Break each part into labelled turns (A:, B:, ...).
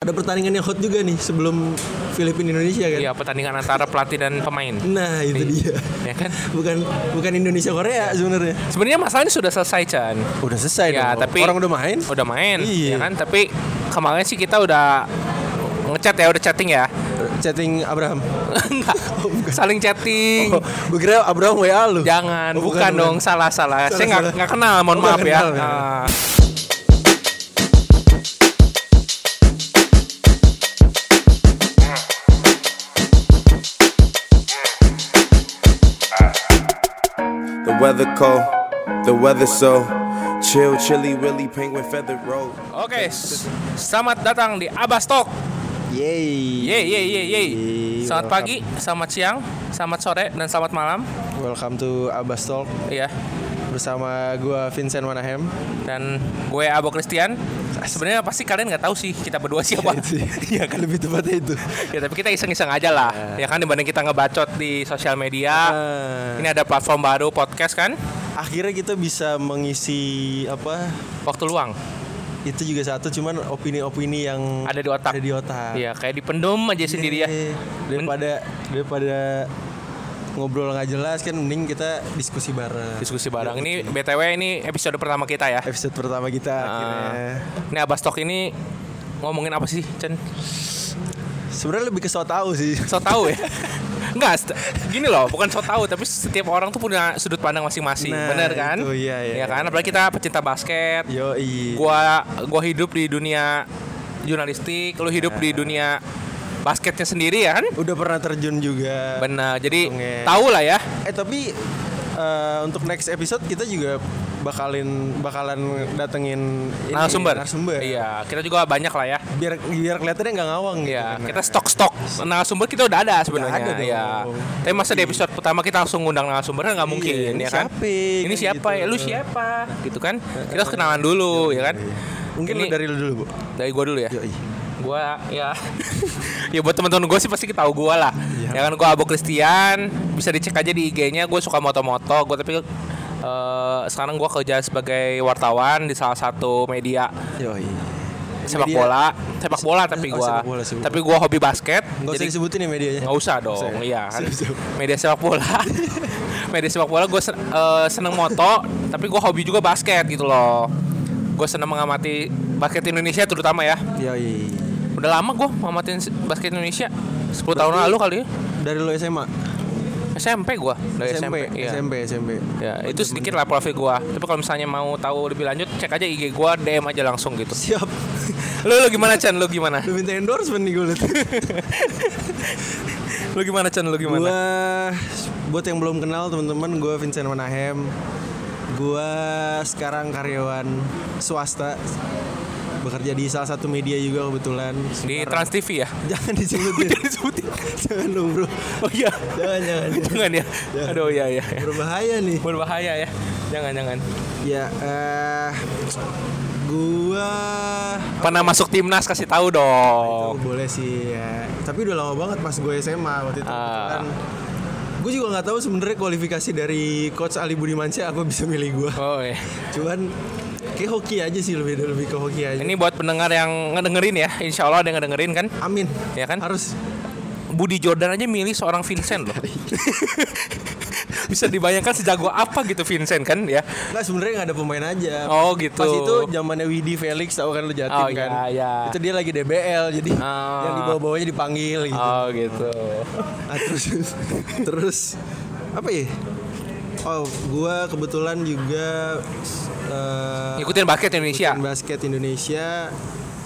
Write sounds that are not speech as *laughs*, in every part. A: ada pertandingan yang hot juga nih sebelum Filipina Indonesia kan.
B: Iya pertandingan antara pelatih dan pemain.
A: Nah, itu dia.
B: Ya kan?
A: Bukan bukan Indonesia Korea sebenarnya.
B: Sebenarnya masalahnya sudah selesai Chan.
C: Udah selesai
B: Ya,
C: Iya dong.
B: tapi-
C: Orang udah main.
B: Udah main,
C: Iya.
B: ya kan? Tapi kemarin sih kita udah ngechat ya, udah chatting ya. *laughs*
C: Chatting Abraham. *laughs*
B: Enggak. Saling chatting.
C: Oh, gue kira Abraham WA lu.
B: Jangan,
C: Oh,
B: bukan, dong, salah-salah. Saya nggak
C: salah.
B: nggak kenal, mohon
C: Oh, nggak
B: maaf ya.
C: kenal, nggak
B: Ah.
D: The weather cold, the weather so chill, chilly, willy, penguin, feathered road.
B: Oke, s- selamat datang di Abastok.
C: Yeay.
B: Ye ye ye ye.
C: welcome.
B: Selamat pagi, selamat siang, selamat sore dan selamat malam.
C: Welcome to Abbas Talk
B: Iya.
C: bersama gua Vincent Manahem.
B: Dan gue Abo Christian. Sebenarnya pasti kalian nggak tahu sih kita berdua siapa.
C: *laughs* Iya kan lebih tepatnya itu.
B: ya tapi kita iseng-iseng aja lah.
C: Iya.
B: Ya kan dibanding kita ngebacot di sosial media.
C: Ah,
B: Ini ada platform baru podcast kan?
C: akhirnya kita bisa mengisi apa?
B: Waktu luang.
C: Itu juga satu cuman opini-opini yang
B: Ada di otak.
C: Ada di otak.
B: Iya, kayak dipendem aja sendiri ya.
C: Eh, Daripada daripada ngobrol nggak jelas kan mending kita diskusi bareng.
B: Diskusi bareng. Ini BTW ini episode pertama kita
C: Iya,
B: ya. Ah.
C: Episode pertama kita akhirnya.
B: Ini Abastok ini ngomongin apa sih, Chen?
C: Sebenarnya lebih ke so tau sih.
B: so tau
C: *laughs*
B: ya Enggak, st- gini loh, bukan so tau, tapi setiap orang tuh punya sudut pandang masing-masing,
C: Nah,
B: bener kan?
C: itu, iya, iya,
B: Ya kan, apalagi kita pecinta basket.
C: Yoi.
B: Gua, gua hidup di dunia jurnalistik, lu hidup
C: Iya.
B: di dunia basketnya sendiri ya kan?
C: Udah pernah terjun juga.
B: Bener, jadi
C: Untungnya.
B: tau lah ya.
C: Eh tapi eh, untuk next episode kita juga bakalin bakalan datengin ini,
B: Narasumber.
C: narasumber.
B: Iya, kita juga banyak lah ya.
C: Biar biar kelihatannya nggak ngawang gitu.
B: Iya,
C: Nah,
B: kita stok-stok narasumber kita udah ada sebenarnya.
C: ada dong.
B: Iya. Tapi masa di episode pertama kita langsung ngundang narasumber kan nggak mungkin
C: Iya, ini
B: ya kan?
C: siapa?
B: Ini
C: Kan
B: siapa?
C: gitu. Iya,
B: Ya, lu siapa? Gitu kan? Kita harus kenalan dulu ya kan?
C: mungkin lu
B: Ini-
C: dari lu dulu, Bu.
B: dari gua dulu ya.
C: Yoi.
B: Gua ya *laughs* ya buat teman-teman gua sih pasti tahu gua lah.
C: Iya.
B: Ya kan gua Abo Christian, bisa dicek aja di IG-nya gua suka moto-moto, gua tapi eh, sekarang gua kerja sebagai wartawan di salah satu media
C: Yoi.
B: sepak
C: Media.
B: bola, sepak bola tapi
C: Oh,
B: gua
C: sepak bola, sepak bola.
B: tapi gua hobi basket.
C: Enggak usah
B: jadi-
C: disebutin ya medianya.
B: Nggak usah dong,
C: Nggak usah ya?
B: iya kan.
C: Siap, siap.
B: Media sepak bola. *laughs* Media sepak bola gue seneng moto, tapi gue hobi juga basket gitu loh. Gue seneng mengamati basket Indonesia terutama ya.
C: Yoi.
B: Udah lama gue ngamatin se- basket Indonesia. 10 tahun lalu kali ya.
C: Dari lu SMA.
B: SMP gue. Dari SMP.
C: SMP,
B: iya.
C: SMP. SMP.
B: Ya, itu sedikit lah profil gue. Tapi kalau misalnya mau tahu lebih lanjut, cek aja IG gue, DM aja langsung gitu.
C: Siap. *laughs*
B: Lu, lu gimana Chan? Lu gimana?
C: Lu minta endorsement nih gue liat.
B: Lu gimana Chan? Lu *laughs* gimana?
C: Gua buat yang belum kenal teman-teman, gue Vincent Manahem. Gua sekarang karyawan swasta bekerja di salah satu media juga kebetulan.
B: Di
C: Sekarang-
B: Trans TV ya?
C: *laughs* jangan
B: *laughs*
C: disebutin. jangan disebutin. jangan dong, Bro.
B: Oh iya.
C: Jangan, jangan.
B: Jangan ya. Aduh iya iya.
C: Berbahaya nih.
B: berbahaya ya jangan jangan
C: Ya eh gua
B: pernah masuk timnas kasih tahu
C: Oh,
B: dong
C: boleh sih ya. Tapi udah lama banget pas gue SMA waktu itu.
B: Ah.
C: Kan gue juga nggak tahu sebenarnya kualifikasi dari coach Ali Budimansyah aku bisa milih gue.
B: oh iya.
C: Cuman kayak hoki aja sih lebih lebih ke hoki aja.
B: ini buat pendengar yang ngedengerin ya insya Allah ada yang ngedengerin kan
C: Amin.
B: Ya kan?
C: Harus.
B: Budi Jordan aja milih seorang
C: *laughs*
B: Vincent loh bisa dibayangkan sejago apa gitu Vincent kan ya
C: Nggak sebenarnya nggak ada pemain aja.
B: Oh, gitu.
C: Pas itu zamannya Widi Felix tahu kan lu jatim
B: Oh,
C: kan.
B: iya, iya.
C: Itu dia lagi DBL jadi
B: Ah.
C: yang di bawah-bawahnya dipanggil gitu.
B: oh gitu
C: Nah, terus *laughs* terus apa ya? Oh, gua kebetulan juga eh,
B: ngikutin basket ya, Indonesia
C: ngikutin basket Indonesia.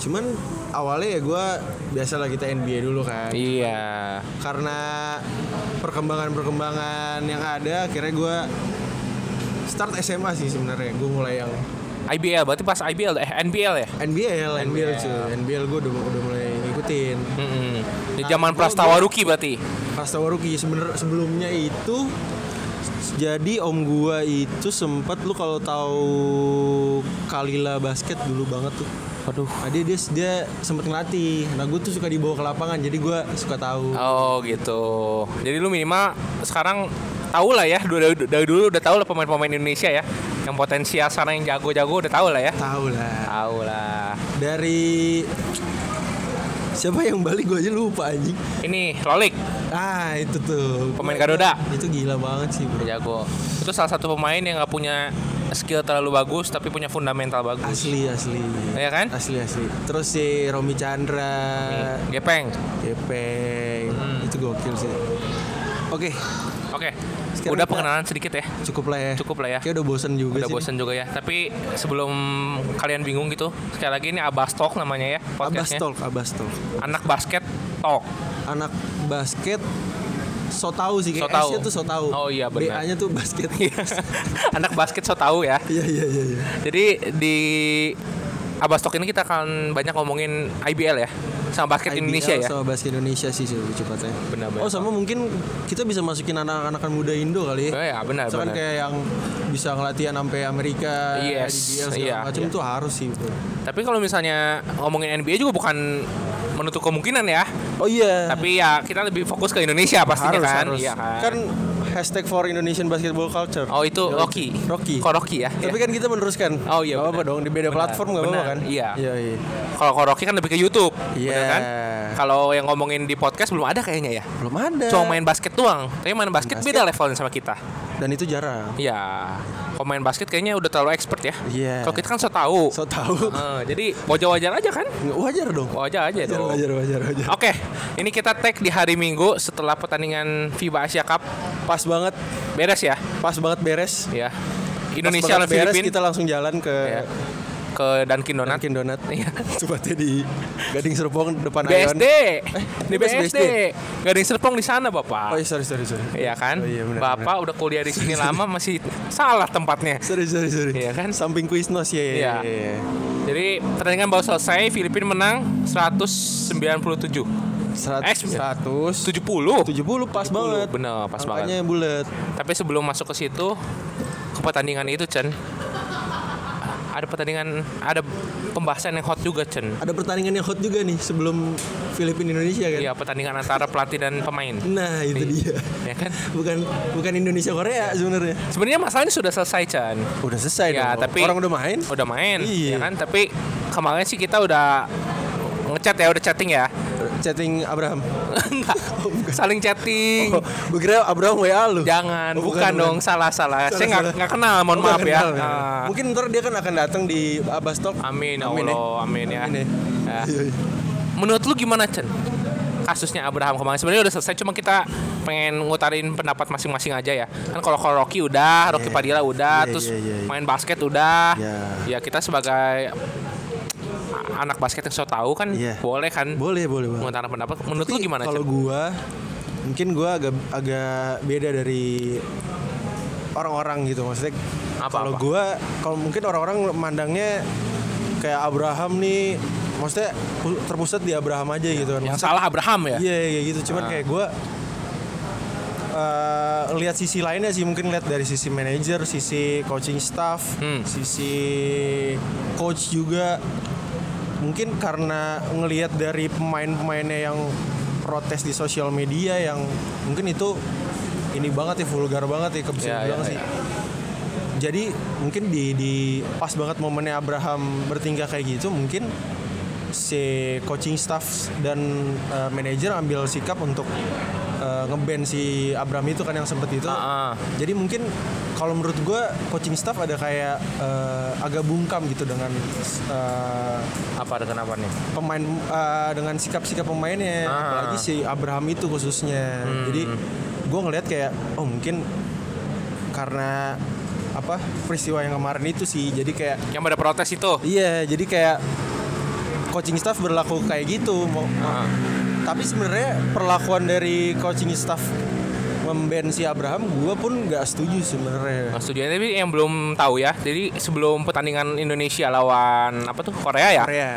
C: Cuman awalnya ya gua biasalah kita NBA dulu kan.
B: iya
C: karena perkembangan-perkembangan yang ada akhirnya gue start SMA sih sebenarnya gue mulai yang
B: IBL berarti pas IBL eh NBL ya
C: NBL NBL cuy NBL gue udah udah mulai ngikutin
B: Mm-mm. di zaman
C: gua-
B: Prastawa Ruki berarti
C: Prastawa Ruki sebener sebelumnya itu jadi om gua itu sempat lu kalau tahu Kalila basket dulu banget tuh. Aduh. Dia dia, dia sempat ngelatih. Nah gue tuh suka dibawa ke lapangan jadi gua suka tahu.
B: oh gitu jadi lu minimal sekarang tahu lah ya dari, dari dulu udah tahu lah pemain-pemain Indonesia ya yang potensial sana yang jago-jago udah tahu lah ya
C: Tahu lah.
B: Tahu lah.
C: dari Siapa yang balik gue aja lupa anjing.
B: Ini Lolik,
C: Ah itu tuh.
B: Pemain Garuda. Iya.
C: Itu gila banget sih bro.
B: jago. Itu salah satu pemain yang nggak punya skill terlalu bagus tapi punya fundamental bagus.
C: Asli asli.
B: Iya kan?
C: Asli asli. Terus si Romi Chandra,
B: Eh, Gepeng.
C: Gepeng,
B: Hmm.
C: itu gokil sih. Oke,
B: Oke.
C: Sekarang
B: Udah
C: kita-
B: pengenalan sedikit ya.
C: cukup lah ya.
B: Cukup lah ya.
C: Kayak udah bosen juga
B: Udah
C: sih.
B: bosen juga ya. Tapi sebelum kalian bingung gitu, sekali lagi ini Abas Talk namanya ya
C: Abas
B: podcastnya.
C: Talk, Abas Talk.
B: Anak basket talk. *laughs*
C: Anak basket so tau sih
B: So
C: kayak
B: tau.
C: S-nya tuh so tau.
B: Oh iya, benar. Iya.
C: BA-nya tuh
B: *laughs*
C: basket.
B: Anak basket so tahu ya.
C: Iya iya iya iya.
B: Jadi di Abas Talk ini kita akan banyak ngomongin IBL ya sama basket
C: IBL
B: Indonesia ya.
C: sama basket Indonesia sih sih lebih cepatnya.
B: Benar-benar.
C: Oh sama mungkin kita bisa masukin anak-anak muda Indo kali
B: Oh,
C: ya.
B: ya benar
C: Misalkan
B: benar.
C: kayak yang bisa ngelatih sampai Amerika,
B: Yes,
C: IBL segala
B: iya,
C: macam
B: iya.
C: tuh harus sih. Bro.
B: Tapi kalau misalnya ngomongin NBA juga bukan menutup kemungkinan ya.
C: Oh iya.
B: Tapi ya kita lebih fokus ke Indonesia pastinya
C: harus
B: kan.
C: harus.
B: Iya kan.
C: kan hashtag for Indonesian Basketball Culture.
B: Oh itu Rocky.
C: Rocky.
B: Kok Rocky ya?
C: Tapi
B: Tapi
C: kan kita meneruskan.
B: Oh, iya,
C: Gak apa-apa
B: benar.
C: dong di beda
B: Benar,
C: platform gak apa-apa
B: benar,
C: kan?
B: iya.
C: Iya iya.
B: kalau kok Rocky kan lebih ke YouTube,
C: Iya.
B: bener kan? Kalau yang ngomongin di podcast belum ada kayaknya ya.
C: Belum ada.
B: Cuma main basket doang. Tapi main basket,
C: Iya. Basket.
B: beda levelnya sama kita.
C: Dan itu jarang.
B: Iya. Kalau main basket kayaknya udah terlalu expert ya.
C: Iya.
B: Kalau kita kan so tahu.
C: So tahu.
B: Eh, jadi wajar-wajar aja kan?
C: Wajar dong.
B: Wajar aja
C: Wajar
B: dong.
C: wajar wajar wajar.
B: Oke, ini kita tag di hari Minggu setelah pertandingan FIBA Asia Cup
C: Pas banget,
B: beres ya.
C: pas banget beres.
B: Ya.
C: Pas
B: Indonesia lawan
C: banget beres,
B: Filipina
C: kita langsung jalan ke
B: ya. ke Dunkin Donat.
C: Dunkin Donat. *laughs*
B: Iya.
C: Tempatnya di Gading Serpong depan Ion.
B: BSD. Di
C: Eh, ini BSD.
B: BSD. Gading Serpong di sana,
C: Oh
B: Bapak.
C: iya sorry sorry sorry.
B: Iya kan?
C: Oh, iya, benar,
B: Bapak udah kuliah
C: *laughs*
B: di sini lama masih salah tempatnya.
C: Sorry sorry sorry.
B: Iya kan?
C: Samping Kuisnos ya. Iya.
B: Iya.
C: iya, iya.
B: Jadi pertandingan baru selesai, Filipina menang 197. Eh,
C: Serat-
B: sembilan.
C: Seratus
B: 70.
C: 70 pas banget.
B: Bener, pas
C: Angkanya bulat.
B: banget. Tapi sebelum masuk ke situ ke pertandingan itu, Chen. Ada pertandingan, ada pembahasan yang hot juga, Chen.
C: Ada pertandingan yang hot juga nih sebelum Filipina Indonesia kan.
B: Iya, pertandingan antara pelatih dan pemain.
C: Nah, itu dia. *laughs*
B: Ya kan?
C: Bukan bukan Indonesia Korea sebenarnya.
B: Sebenarnya masalahnya sudah selesai, Chan.
C: Udah selesai
B: Ya,
C: dong.
B: tapi
C: Orang udah main.
B: Udah main,
C: Iya.
B: ya kan? Tapi kemarin sih kita udah ngechat ya, udah chatting ya. *laughs*
C: Chatting Abraham.
B: Enggak. Saling chatting.
C: Oh, gue kira Abraham WA lu.
B: Jangan,
C: Oh,
B: bukan,
C: bukan,
B: dong, salah-salah.
C: Salah,
B: Saya nggak
C: salah.
B: nggak kenal, mohon
C: Oh,
B: maaf
C: nggak
B: ya.
C: kenal
B: Ah.
C: Mungkin ntar dia kan akan datang di Abastok.
B: Amin, ya
C: Amin, ya.
B: Allah, amin ya.
C: Amin, ya.
B: Ya.
C: Iya, iya.
B: Menurut lu gimana, Chen? Kasusnya Abraham kemarin sebenarnya udah selesai, cuma kita pengen ngutarin pendapat masing-masing aja ya. Kan kalau kalau Rocky udah, Rocky Padilla udah,
C: Iya,
B: terus
C: iya, iya, iya.
B: main basket udah.
C: Iya.
B: Ya kita sebagai anak basket yang so tahu kan
C: Iya.
B: boleh kan
C: Boleh, boleh banget.
B: mengutarakan pendapat. Menurut lu
C: Tapi
B: gimana,
C: Kalau
B: Chen?
C: gua mungkin gua agak agak beda dari orang-orang gitu maksudnya.
B: Apa-apa?
C: Kalau gua kalau mungkin orang-orang mandangnya kayak Abraham nih maksudnya pu- terpusat di Abraham aja gitu kan.
B: Yang salah Abraham ya?
C: Iya iya gitu cuman kayak gua eh lihat sisi lainnya sih mungkin lihat dari sisi manajer, sisi coaching staff,
B: Hmm.
C: sisi coach juga mungkin karena ngelihat dari pemain-pemainnya yang protes di sosial media yang mungkin itu ini banget ya vulgar banget ya kebetulan
B: Iya, iya,
C: banget sih.
B: iya.
C: Jadi mungkin di di pas banget momennya Abraham bertingkah kayak gitu mungkin si coaching staff dan eh, manajer ambil sikap untuk eh, nge-ban si Abraham itu kan yang sempet itu.
B: Ah, ah.
C: Jadi mungkin kalau menurut gue coaching staff ada kayak eh, agak bungkam gitu dengan eh,
B: Apa ada kenapa nih?
C: pemain eh, dengan sikap-sikap pemainnya,
B: Ah.
C: apalagi si Abraham itu khususnya. Jadi gue ngelihat kayak oh mungkin karena apa peristiwa yang kemarin itu sih jadi kayak
B: Yang pada protes itu?
C: Iya, jadi kayak coaching staff berlaku kayak gitu. Mau,
B: Ah.
C: Tapi sebenarnya perlakuan dari coaching staff memben si Abraham, gue pun nggak setuju sebenarnya.
B: Nah, studio ini tapi yang belum tahu ya. Jadi sebelum pertandingan Indonesia lawan apa tuh Korea ya.
C: Korea,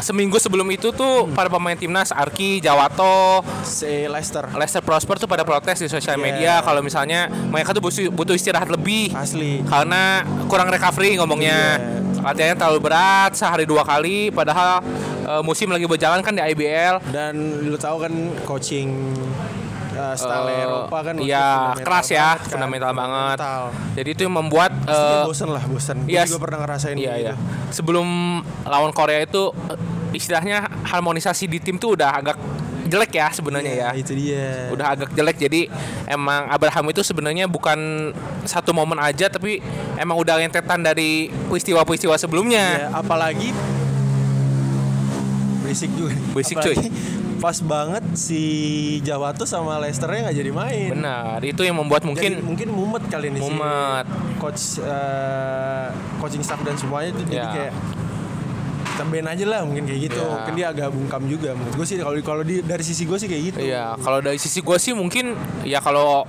B: Seminggu sebelum itu tuh para pemain timnas Arki, Jawato,
C: si Leicester
B: Lester Prosper tuh pada protes di sosial
C: Iya.
B: media kalau misalnya mereka tuh butuh, butuh istirahat lebih
C: asli.
B: karena kurang recovery ngomongnya.
C: Iya.
B: Latihannya terlalu berat sehari dua kali padahal eh, musim lagi berjalan kan di IBL.
C: Dan lu tahu kan coaching uh, style
B: Eh,
C: Eropa kan
B: iya,
C: fundamental
B: keras ya,
C: banget kan,
B: fundamental banget.
C: fundamental.
B: Jadi itu yang membuat
C: Pasti
B: eh,
C: bosen lah, bosen. Gue
B: yes.
C: juga pernah ngerasain gitu.
B: Iya
C: kayak
B: iya.
C: gitu.
B: Sebelum lawan Korea itu eh, istilahnya harmonisasi di tim tuh udah agak jelek ya sebenarnya ya.
C: Iya, itu dia
B: udah agak jelek jadi emang Abraham itu sebenarnya bukan satu momen aja tapi emang udah rentetan dari peristiwa-peristiwa
C: Ya,
B: sebelumnya
C: apalagi berisik juga
B: Berisik,
C: Apalagi
B: cuy.
C: pas banget si Jawa tuh sama Lesternya nggak jadi main
B: benar itu yang membuat
C: mungkin Iya. mungkin
B: mungkin
C: mumet kali ini sih
B: mumet
C: coach eh, coaching staff dan semuanya itu jadi
B: Ya.
C: kayak tambahin aja lah mungkin kayak gitu
B: Ya.
C: mungkin dia agak bungkam juga menurut gue sih kalau kalau di- dari sisi gue sih kayak gitu
B: iya kalau dari sisi gue sih mungkin ya kalau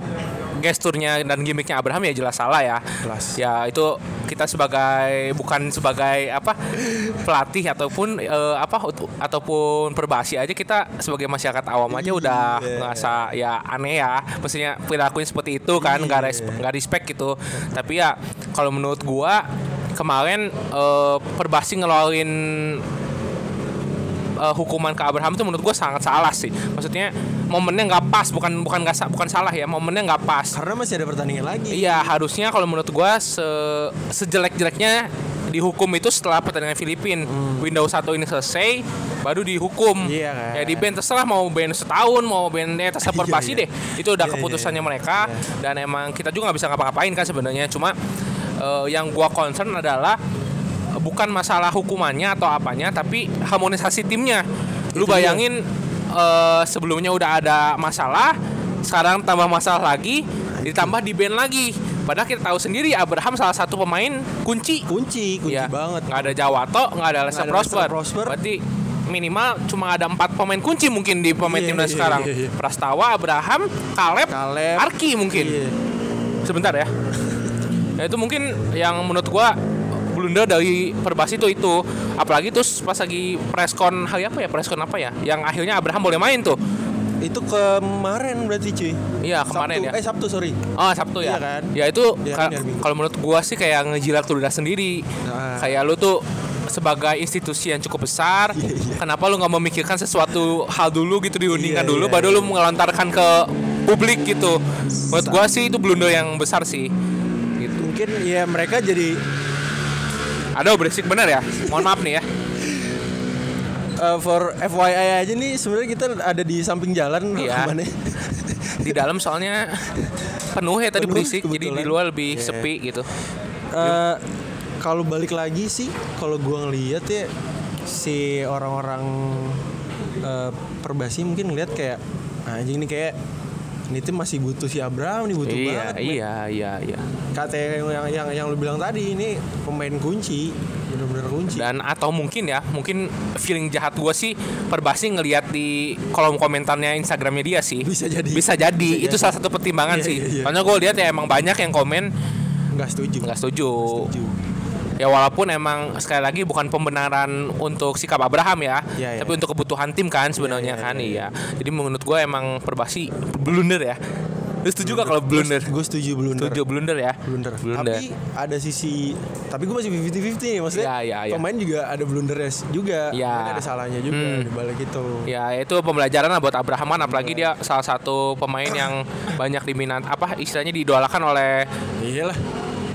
B: gesturnya dan gimmicknya Abraham ya jelas salah ya
C: Jelas.
B: ya itu kita sebagai bukan sebagai apa pelatih ataupun eh, apa ut- ataupun perbasi aja kita sebagai masyarakat awam aja udah
C: Iya.
B: ngerasa ya aneh ya maksudnya perilakunya seperti itu kan nggak
C: Iya.
B: respect nggak respect gitu tapi ya kalau menurut gua kemarin eh, perbasi ngeluarin eh, hukuman ke Abraham itu menurut gua sangat salah sih maksudnya momennya nggak pas bukan bukan nggak sa- bukan salah ya momennya nggak pas
C: karena masih ada pertandingan lagi
B: Iya harusnya kalau menurut gua se sejelek-jeleknya dihukum itu setelah pertandingan Filipin Windows 1 ini selesai baru
C: Hmm.
B: dihukum
C: Iya kan.
B: ya di ban terserah mau ban setahun mau ban eh, terserah
C: Iya,
B: perbasi
C: iya.
B: deh itu udah
C: Iya, iya,
B: keputusannya
C: iya.
B: mereka dan emang kita juga nggak bisa ngapa-ngapain kan sebenarnya cuma eh, yang gua concern adalah eh, bukan masalah hukumannya atau apanya tapi harmonisasi timnya
C: Itu
B: lu
C: dia.
B: bayangin eh, sebelumnya udah ada masalah sekarang tambah masalah lagi ditambah di band lagi padahal kita tahu sendiri Abraham salah satu pemain kunci
C: kunci kunci
B: Iya.
C: banget
B: nggak ada Jawato nggak ada Lester
C: Nggak ada
B: Prosper.
C: Lester Prosper.
B: berarti minimal cuma ada empat pemain kunci mungkin di pemain
C: Iya,
B: timnas
C: iya,
B: sekarang
C: iya, iya.
B: Prastawa Abraham Kaleb,
C: Kaleb.
B: Arki mungkin
C: Iya.
B: sebentar ya. ya itu mungkin yang menurut gua blunder dari Perbasi itu itu apalagi terus pas lagi preskon hari apa ya preskon apa ya yang akhirnya Abraham boleh main tuh
C: itu kemarin berarti cuy
B: iya kemarin
C: Sabtu,
B: ya
C: eh Sabtu sorry
B: Oh Sabtu
C: Iya
B: ya?
C: kan?
B: Ya itu
C: Iya kan,
B: ka-
C: biar minggu.
B: kalau menurut gua sih kayak ngejilat ludah sendiri.
C: Nah.
B: Kayak lu tuh sebagai institusi yang cukup besar,
C: Iya, iya.
B: kenapa lu nggak memikirkan sesuatu hal dulu gitu diundingkan
C: Iya,
B: dulu,
C: iya,
B: baru lu melontarkan ke publik gitu. Menurut gua sih itu blunder yang besar sih. Gitu.
C: mungkin ya mereka jadi
B: Aduh berisik bener ya. Mohon maaf nih ya.
C: eh, for FYI aja nih sebenarnya kita ada di samping jalan
B: Iya.
C: rekamannya.
B: *laughs* Di dalam soalnya penuh ya tadi
C: Penuh,
B: berisik, jadi di
C: kebetulan.
B: luar lebih
C: Iya.
B: sepi gitu.
C: Eh, kalau balik lagi sih kalau gua ngeliat ya si orang-orang eh, perbasi mungkin ngeliat kayak anjing nih kayak ini tim masih butuh si Abraham nih butuh
B: iya,
C: banget
B: iya, iya, iya.
C: kata yang, yang yang yang lu bilang tadi ini pemain kunci bener-bener kunci
B: dan atau mungkin ya mungkin feeling jahat gue sih perbasi ngelihat di kolom komentarnya instagramnya dia sih
C: Bisa jadi.
B: bisa jadi
C: Bisa
B: itu
C: jadi.
B: salah satu pertimbangan
C: Iya,
B: sih
C: iya, iya.
B: karena gue lihat ya emang banyak yang komen
C: nggak setuju
B: nggak setuju.
C: setuju.
B: ya walaupun emang sekali lagi bukan pembenaran untuk sikap Abraham ya
C: Iya, iya.
B: tapi untuk kebutuhan tim kan sebenarnya
C: iya,
B: kan iya jadi menurut gue emang perbasi blunder ya lu setuju gak kalau blunder
C: gue setuju blunder
B: setuju blunder ya
C: blunder.
B: blunder
C: Tapi ada sisi tapi gue masih 50-50 nih maksudnya.
B: Iya, iya, iya.
C: Pemain juga ada blundernya s- juga.
B: Iya.
C: Mungkin ada salahnya juga
B: Hmm.
C: di balik itu.
B: Ya itu pembelajaran lah buat Abraham kan apalagi dia salah satu pemain yang banyak diminat apa istilahnya diidolakan oleh
C: Iyalah,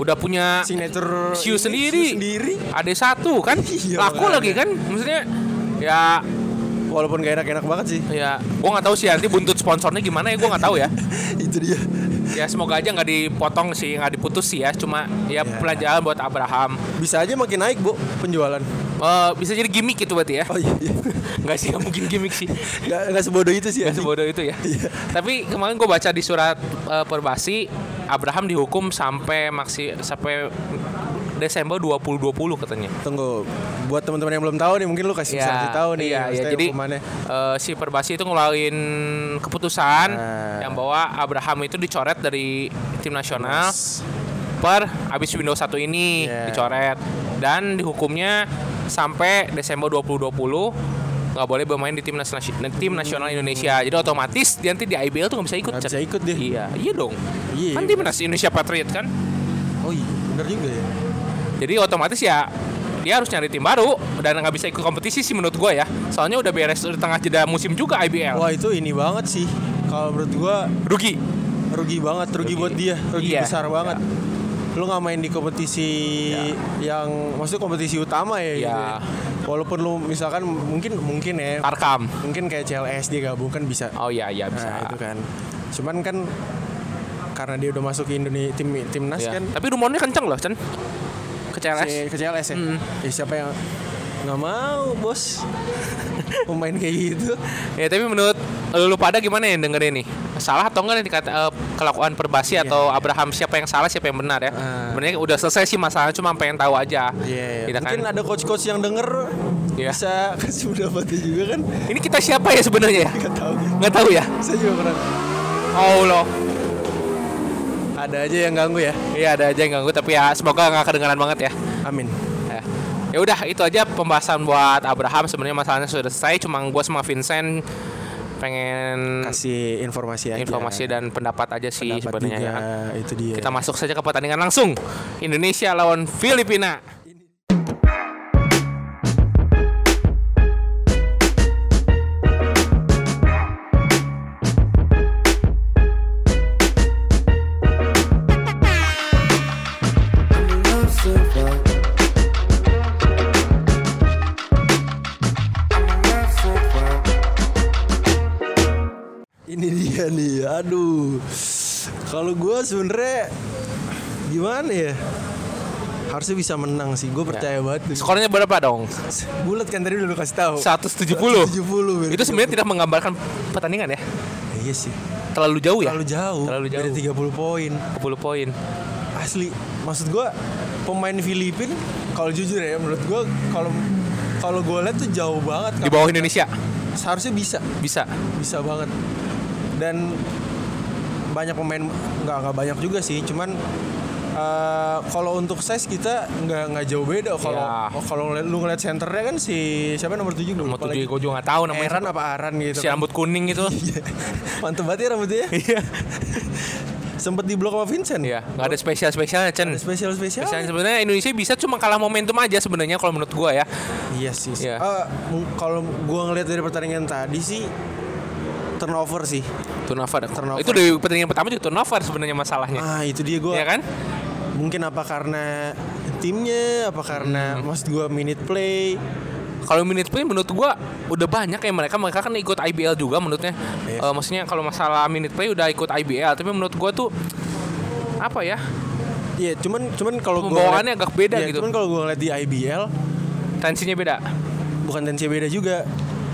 B: udah punya
C: signature ini,
B: Siu sendiri.
C: Siu sendiri.
B: ada satu kan
C: Iya,
B: laku
C: makanya.
B: lagi kan maksudnya ya
C: Walaupun gak enak-enak banget sih.
B: ya gua nggak tahu sih nanti buntut sponsornya gimana ya gua nggak tahu ya
C: *laughs* itu dia.
B: ya semoga aja nggak dipotong sih nggak diputus sih ya cuma
C: Iya.
B: ya pelajaran buat Abraham
C: Bisa aja makin naik, Bu, penjualan.
B: Eh, bisa jadi gimmick itu berarti ya
C: Oh iya. iya.
B: *laughs* nggak sih nggak mungkin gimmick sih
C: Gak, gak sebodoh itu sih.
B: Gak
C: anjing.
B: sebodoh itu ya.
C: *laughs* Iya.
B: Tapi kemarin gue baca di surat eh, perbasi Abraham dihukum sampai maksi sampai Desember 2020 katanya.
C: Tunggu, buat teman-teman yang belum tahu nih, mungkin lu kasih bisa kasih tahu nih.
B: Iya, iya.
C: maksudnya
B: Jadi
C: hukumannya.
B: eh, si Perbasi itu ngeluarin keputusan
C: Nah.
B: yang bahwa Abraham itu dicoret dari tim nasional per abis Windows 1 ini
C: Iya.
B: dicoret dan dihukumnya sampai Desember 2020 nggak boleh bermain di tim nasional tim nasional Indonesia. Jadi otomatis dia nanti di IBL tuh nggak bisa ikut.
C: Hmm. Nggak bisa
B: Cak.
C: ikut dia.
B: Iya, iya dong.
C: Iya,
B: kan
C: iya,
B: timnas Indonesia Patriot kan.
C: Oh iya, bener juga ya.
B: Jadi otomatis ya dia harus nyari tim baru dan nggak bisa ikut kompetisi sih menurut gua ya. Soalnya udah beres di tengah jeda musim juga IBL.
C: Wah, itu ini banget sih. Kalau menurut gua
B: Rugi.
C: rugi banget rugi, buat dia rugi
B: Iya.
C: besar banget lu nggak main di kompetisi yang maksudnya kompetisi utama ya,
B: Iya.
C: gitu ya. walaupun lu misalkan mungkin mungkin ya
B: Arkam.
C: mungkin kayak CLS dia gabung kan bisa
B: Oh iya iya bisa.
C: nah, itu kan cuman kan karena dia udah masuk ke Indonesia tim timnas
B: Iya.
C: kan
B: Tapi rumornya kenceng loh, Cen. Ke CLS.
C: si- ke CLS ya
B: Mm.
C: Eh, siapa yang nggak mau
B: *laughs*
C: bos pemain kayak gitu
B: Ya tapi menurut lu pada gimana yang dengerin nih? Salah atau enggak nih dikata eh, kelakuan Perbasi atau Abraham siapa yang salah siapa yang benar
C: Iya,
B: ya?
C: Ah.
B: Sebenarnya udah selesai sih masalah cuma pengen tahu aja.
C: Iya,
B: Kita kan.
C: mungkin ada coach-coach yang denger
B: Iya.
C: bisa *laughs* kasih pendapatnya juga kan
B: Ini kita siapa ya sebenarnya ya?
C: nggak tahu
B: Nggak tahu ya?
C: saya juga pernah
B: Oh loh.
C: ada aja yang ganggu ya
B: Iya ada aja yang ganggu tapi ya semoga nggak kedengaran banget ya.
C: amin
B: Ya. Ya udah itu aja pembahasan buat Abraham sebenarnya masalahnya sudah selesai cuma gua sama Vincent pengen
C: kasih informasi aja
B: informasi dan pendapat aja sih
C: Pendapat
B: sebenarnya
C: juga,
B: ya kan.
C: itu dia
B: Kita masuk saja ke pertandingan langsung. Indonesia lawan Filipina.
C: ini dia nih aduh kalau gue sebenernya gimana ya harusnya bisa menang sih
B: Ya.
C: gue percaya banget tuh.
B: Skornya berapa dong?
C: bulat kan tadi udah lu kasih tahu
B: 170.
C: 70 men.
B: Itu sebenarnya tidak menggambarkan pertandingan ya.
C: iya sih
B: Terlalu jauh ya?
C: terlalu jauh
B: Terlalu jauh.
C: beda 30 poin
B: 10 poin.
C: asli maksud gua pemain Filipin kalau jujur ya menurut gua kalau kalau gue lihat tuh jauh banget
B: Di bawah Indonesia.
C: seharusnya bisa
B: Bisa.
C: bisa banget dan banyak pemain nggak nggak banyak juga sih cuman eh, kalau untuk size kita nggak nggak jauh beda kalau
B: Iya.
C: kalau ngeliat- lu ngeliat centernya kan si siapa nomor tujuh dulu
B: Mau tujuh gue juga nggak tahu namanya.
C: Eran apa Aran gitu Iya.
B: Si rambut kuning itu.
C: mantep banget ya rambutnya
B: Iya.
C: sempet di blok sama Vincent
B: Iya, nggak ada spesial-spesialnya, Chen.
C: spesial spesial
B: Spesial sebenarnya Indonesia bisa cuma kalah momentum aja sebenarnya kalau menurut gua ya.
C: Iya sih.
B: Iya.
C: Eh, mung- kalau gua ngelihat dari pertandingan tadi sih turnover sih.
B: Turnover.
C: Turnover.
B: Itu dari pertandingan pertama juga turnover sebenarnya masalahnya.
C: Ah, itu dia gua.
B: Iya kan?
C: Mungkin apa karena timnya, apa karena
B: Hmm.
C: maksud gua minute play.
B: Kalau minute play menurut gua udah banyak ya mereka mereka kan ikut IBL juga menurutnya.
C: Iya.
B: Eh, maksudnya kalau masalah minute play udah ikut IBL tapi menurut gua tuh apa ya?
C: Iya, cuman cuman kalau gua
B: Pembawaannya
C: ngeliat-
B: agak beda
C: Iya,
B: gitu.
C: Cuman kalau gua ngeliat di IBL
B: Tensinya beda.
C: bukan tensi beda juga.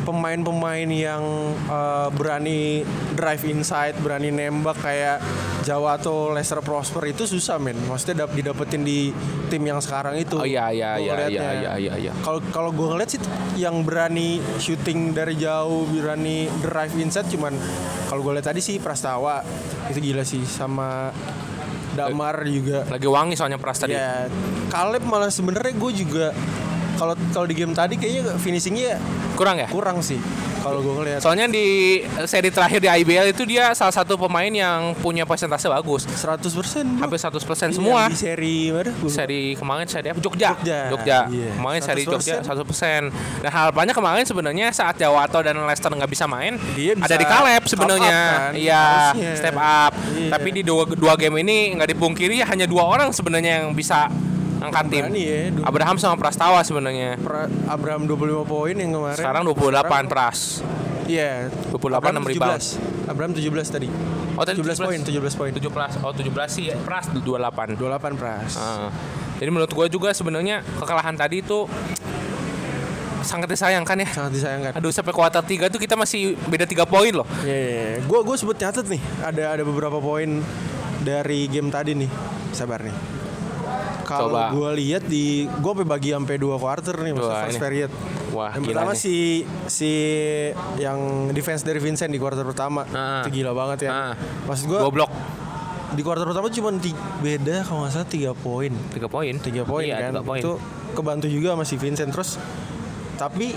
C: Pemain-pemain yang eh, berani drive inside, berani nembak kayak Jawa atau Lester Prosper itu susah men. Maksudnya dap- didapetin di tim yang sekarang itu.
B: Oh iya
C: Gua
B: iya iya iya
C: ngeliatnya.
B: iya iya iya.
C: Kalau kalau gue ngeliat sih yang berani shooting dari jauh, berani drive inside cuman kalau gue lihat tadi sih Prastawa itu gila sih sama Damar juga.
B: Lagi wangi soalnya Pras tadi.
C: Ya, Kaleb malah sebenarnya gue juga kalau kalau di game tadi kayaknya finishingnya
B: Kurang ya?
C: kurang sih kalau gue ngeliat.
B: Soalnya di eh, seri terakhir di IBL itu dia salah satu pemain yang punya persentase bagus.
C: 100% persen
B: Hampir 100% semua.
C: di seri mana? Gua lupa.
B: seri kemarin seri apa Jogja
C: Jogja. Iya.
B: kemarin seri
C: 100%.
B: Jogja 100% nah harapannya kemarin sebenarnya saat Jawato dan Lester nggak bisa main
C: Dia bisa
B: ada di Kaleb
C: step
B: sebenarnya
C: up kan,
B: iya
C: harusnya.
B: step up
C: Iya.
B: tapi di dua, dua game ini nggak dipungkiri ya hanya dua orang sebenarnya yang bisa angkat tim
C: Berani ya, dua-
B: Abraham sama Prastawa sebenarnya
C: Pra- Abraham 25 poin yang kemarin.
B: sekarang 28 Pras
C: Iya.
B: 28,
C: Abraham
B: enam rebound.
C: 17. Abraham 17 tadi.
B: Oh, tadi
C: 17 poin, 17 poin.
B: 17 oh 17 sih Pras 28
C: 28 Pras.
B: Ah. Jadi menurut gue juga sebenarnya kekalahan tadi itu sangat disayangkan ya.
C: Sangat disayangkan.
B: Aduh sampai kuarter 3 tuh kita masih beda 3 poin loh.
C: Iya, iya, iya. Gua gua sebut catat nih, ada ada beberapa poin dari game tadi nih. Sabar nih. Kalau
B: Coba.
C: gua lihat di gua sampai bagi sampai dua quarter nih maksudnya
B: Wah,
C: first
B: ini.
C: period.
B: Wah,
C: yang
B: gila
C: pertama
B: nih.
C: si si yang defense dari Vincent di quarter pertama.
B: Ah.
C: Itu gila banget ya.
B: Ah.
C: Maksud gua
B: Goblok
C: di quarter pertama cuma ti- beda kalau nggak salah 3 poin.
B: 3 poin.
C: 3 poin
B: iya,
C: kan.
B: tiga poin.
C: Itu kebantu juga sama si Vincent terus tapi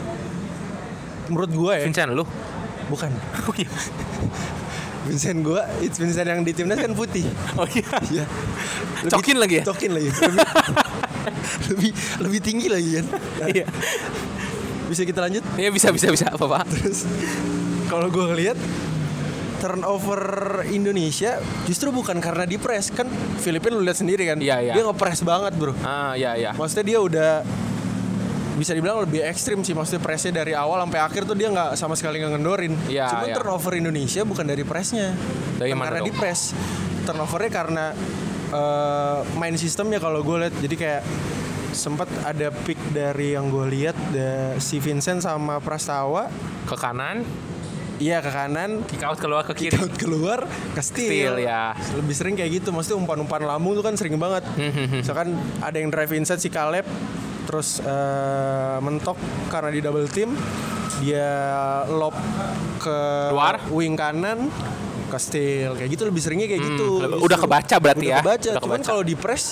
C: menurut gua ya
B: Vincent lu.
C: bukan
B: *laughs* Oh iya.
C: Vincent gua it's Vincent yang di timnas kan putih
B: Oh iya.
C: Iya. Lebih-
B: Cokin lagi ya?
C: Cokin lagi. Lebih, *laughs* lebih lebih tinggi lagi kan.
B: Iya.
C: Bisa kita lanjut?
B: *laughs* Iya bisa bisa bisa apa Pak?
C: Terus kalau gue ngeliat turnover Indonesia justru bukan karena di press kan Filipina lu lihat sendiri kan.
B: Iya, iya.
C: Dia ngepress banget, Bro.
B: Ah iya iya.
C: Maksudnya dia udah bisa dibilang lebih ekstrim sih maksudnya pressnya dari awal sampai akhir tuh dia nggak sama sekali nggak ngendorin.
B: Iya,
C: Cuma
B: iya.
C: turnover Indonesia bukan dari pressnya,
B: Dari
C: Bukan
B: mana
C: karena
B: dong?
C: di press. Turnovernya karena eh, main sistemnya kalau gue lihat jadi kayak sempat ada pick dari yang gue lihat da- si Vincent sama Prastawa
B: ke kanan
C: iya ke kanan
B: kick out keluar ke kiri
C: kick out keluar ke
B: Steal,
C: steal,
B: ya.
C: lebih sering kayak gitu maksudnya umpan-umpan lambung tuh kan sering banget
B: Hmm.
C: misalkan ada yang drive inside si Caleb terus eh, mentok karena di double team dia lob ke
B: Luar?
C: wing kanan ke steal kayak gitu lebih seringnya kayak gitu
B: Hmm, lebih- udah kebaca berarti
C: udah
B: ya?
C: kebaca.
B: Udah
C: cuman
B: kebaca.
C: kalau di press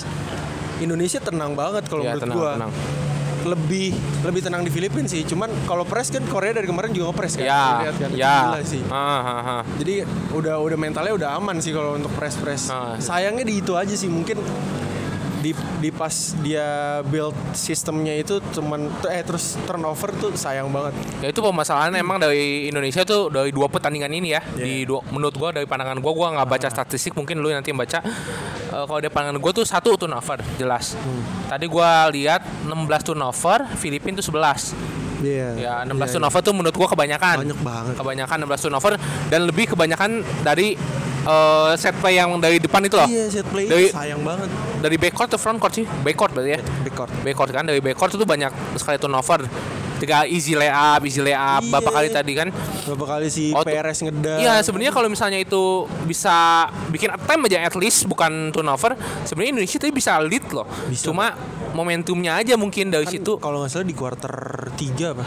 C: Indonesia tenang banget kalau
B: Iya,
C: menurut
B: tenang,
C: gua
B: tenang.
C: lebih lebih tenang di Filipina sih cuman kalau press kan Korea dari kemarin juga ngepres kan
B: ya
C: Lihat kan?
B: ya
C: Gila sih
B: Ah, ah, ah.
C: jadi udah udah mentalnya udah aman sih kalau untuk press press.
B: Ah.
C: Sayangnya di itu aja sih mungkin di, di pas dia build sistemnya itu cuman eh terus turnover tuh sayang banget.
B: Ya itu permasalahan emang dari Indonesia tuh dari dua pertandingan ini ya.
C: Iya.
B: Di dua, menurut gua dari pandangan gua gua nggak
C: Ah.
B: baca statistik, mungkin lu nanti yang baca. Eh, kalau dari pandangan gua tuh satu turnover jelas.
C: Hmm.
B: Tadi gua lihat 16 turnover, Filipina tuh 11.
C: Iya.
B: Ya, 16 turnover tuh menurut gua kebanyakan.
C: Banyak banget.
B: Kebanyakan 16 turnover dan lebih kebanyakan dari eh, set play yang dari depan itu loh.
C: Iya, set play
B: Dari-
C: sayang banget.
B: Dari backcourt ke frontcourt sih. Backcourt berarti ya.
C: Record.
B: backcourt kan dari backcourt itu banyak sekali turnover tiga easy layup easy layup
C: Iya.
B: berapa kali tadi kan
C: Berapa kali si
B: Oh, tuh-
C: PRS ngedang.
B: Iya sebenarnya kalau misalnya itu bisa bikin attempt aja at least bukan turnover sebenarnya Indonesia tadi bisa lead loh
C: Bisa.
B: cuma momentumnya aja mungkin dari
C: Kan
B: situ
C: kalau nggak salah di quarter 3 apa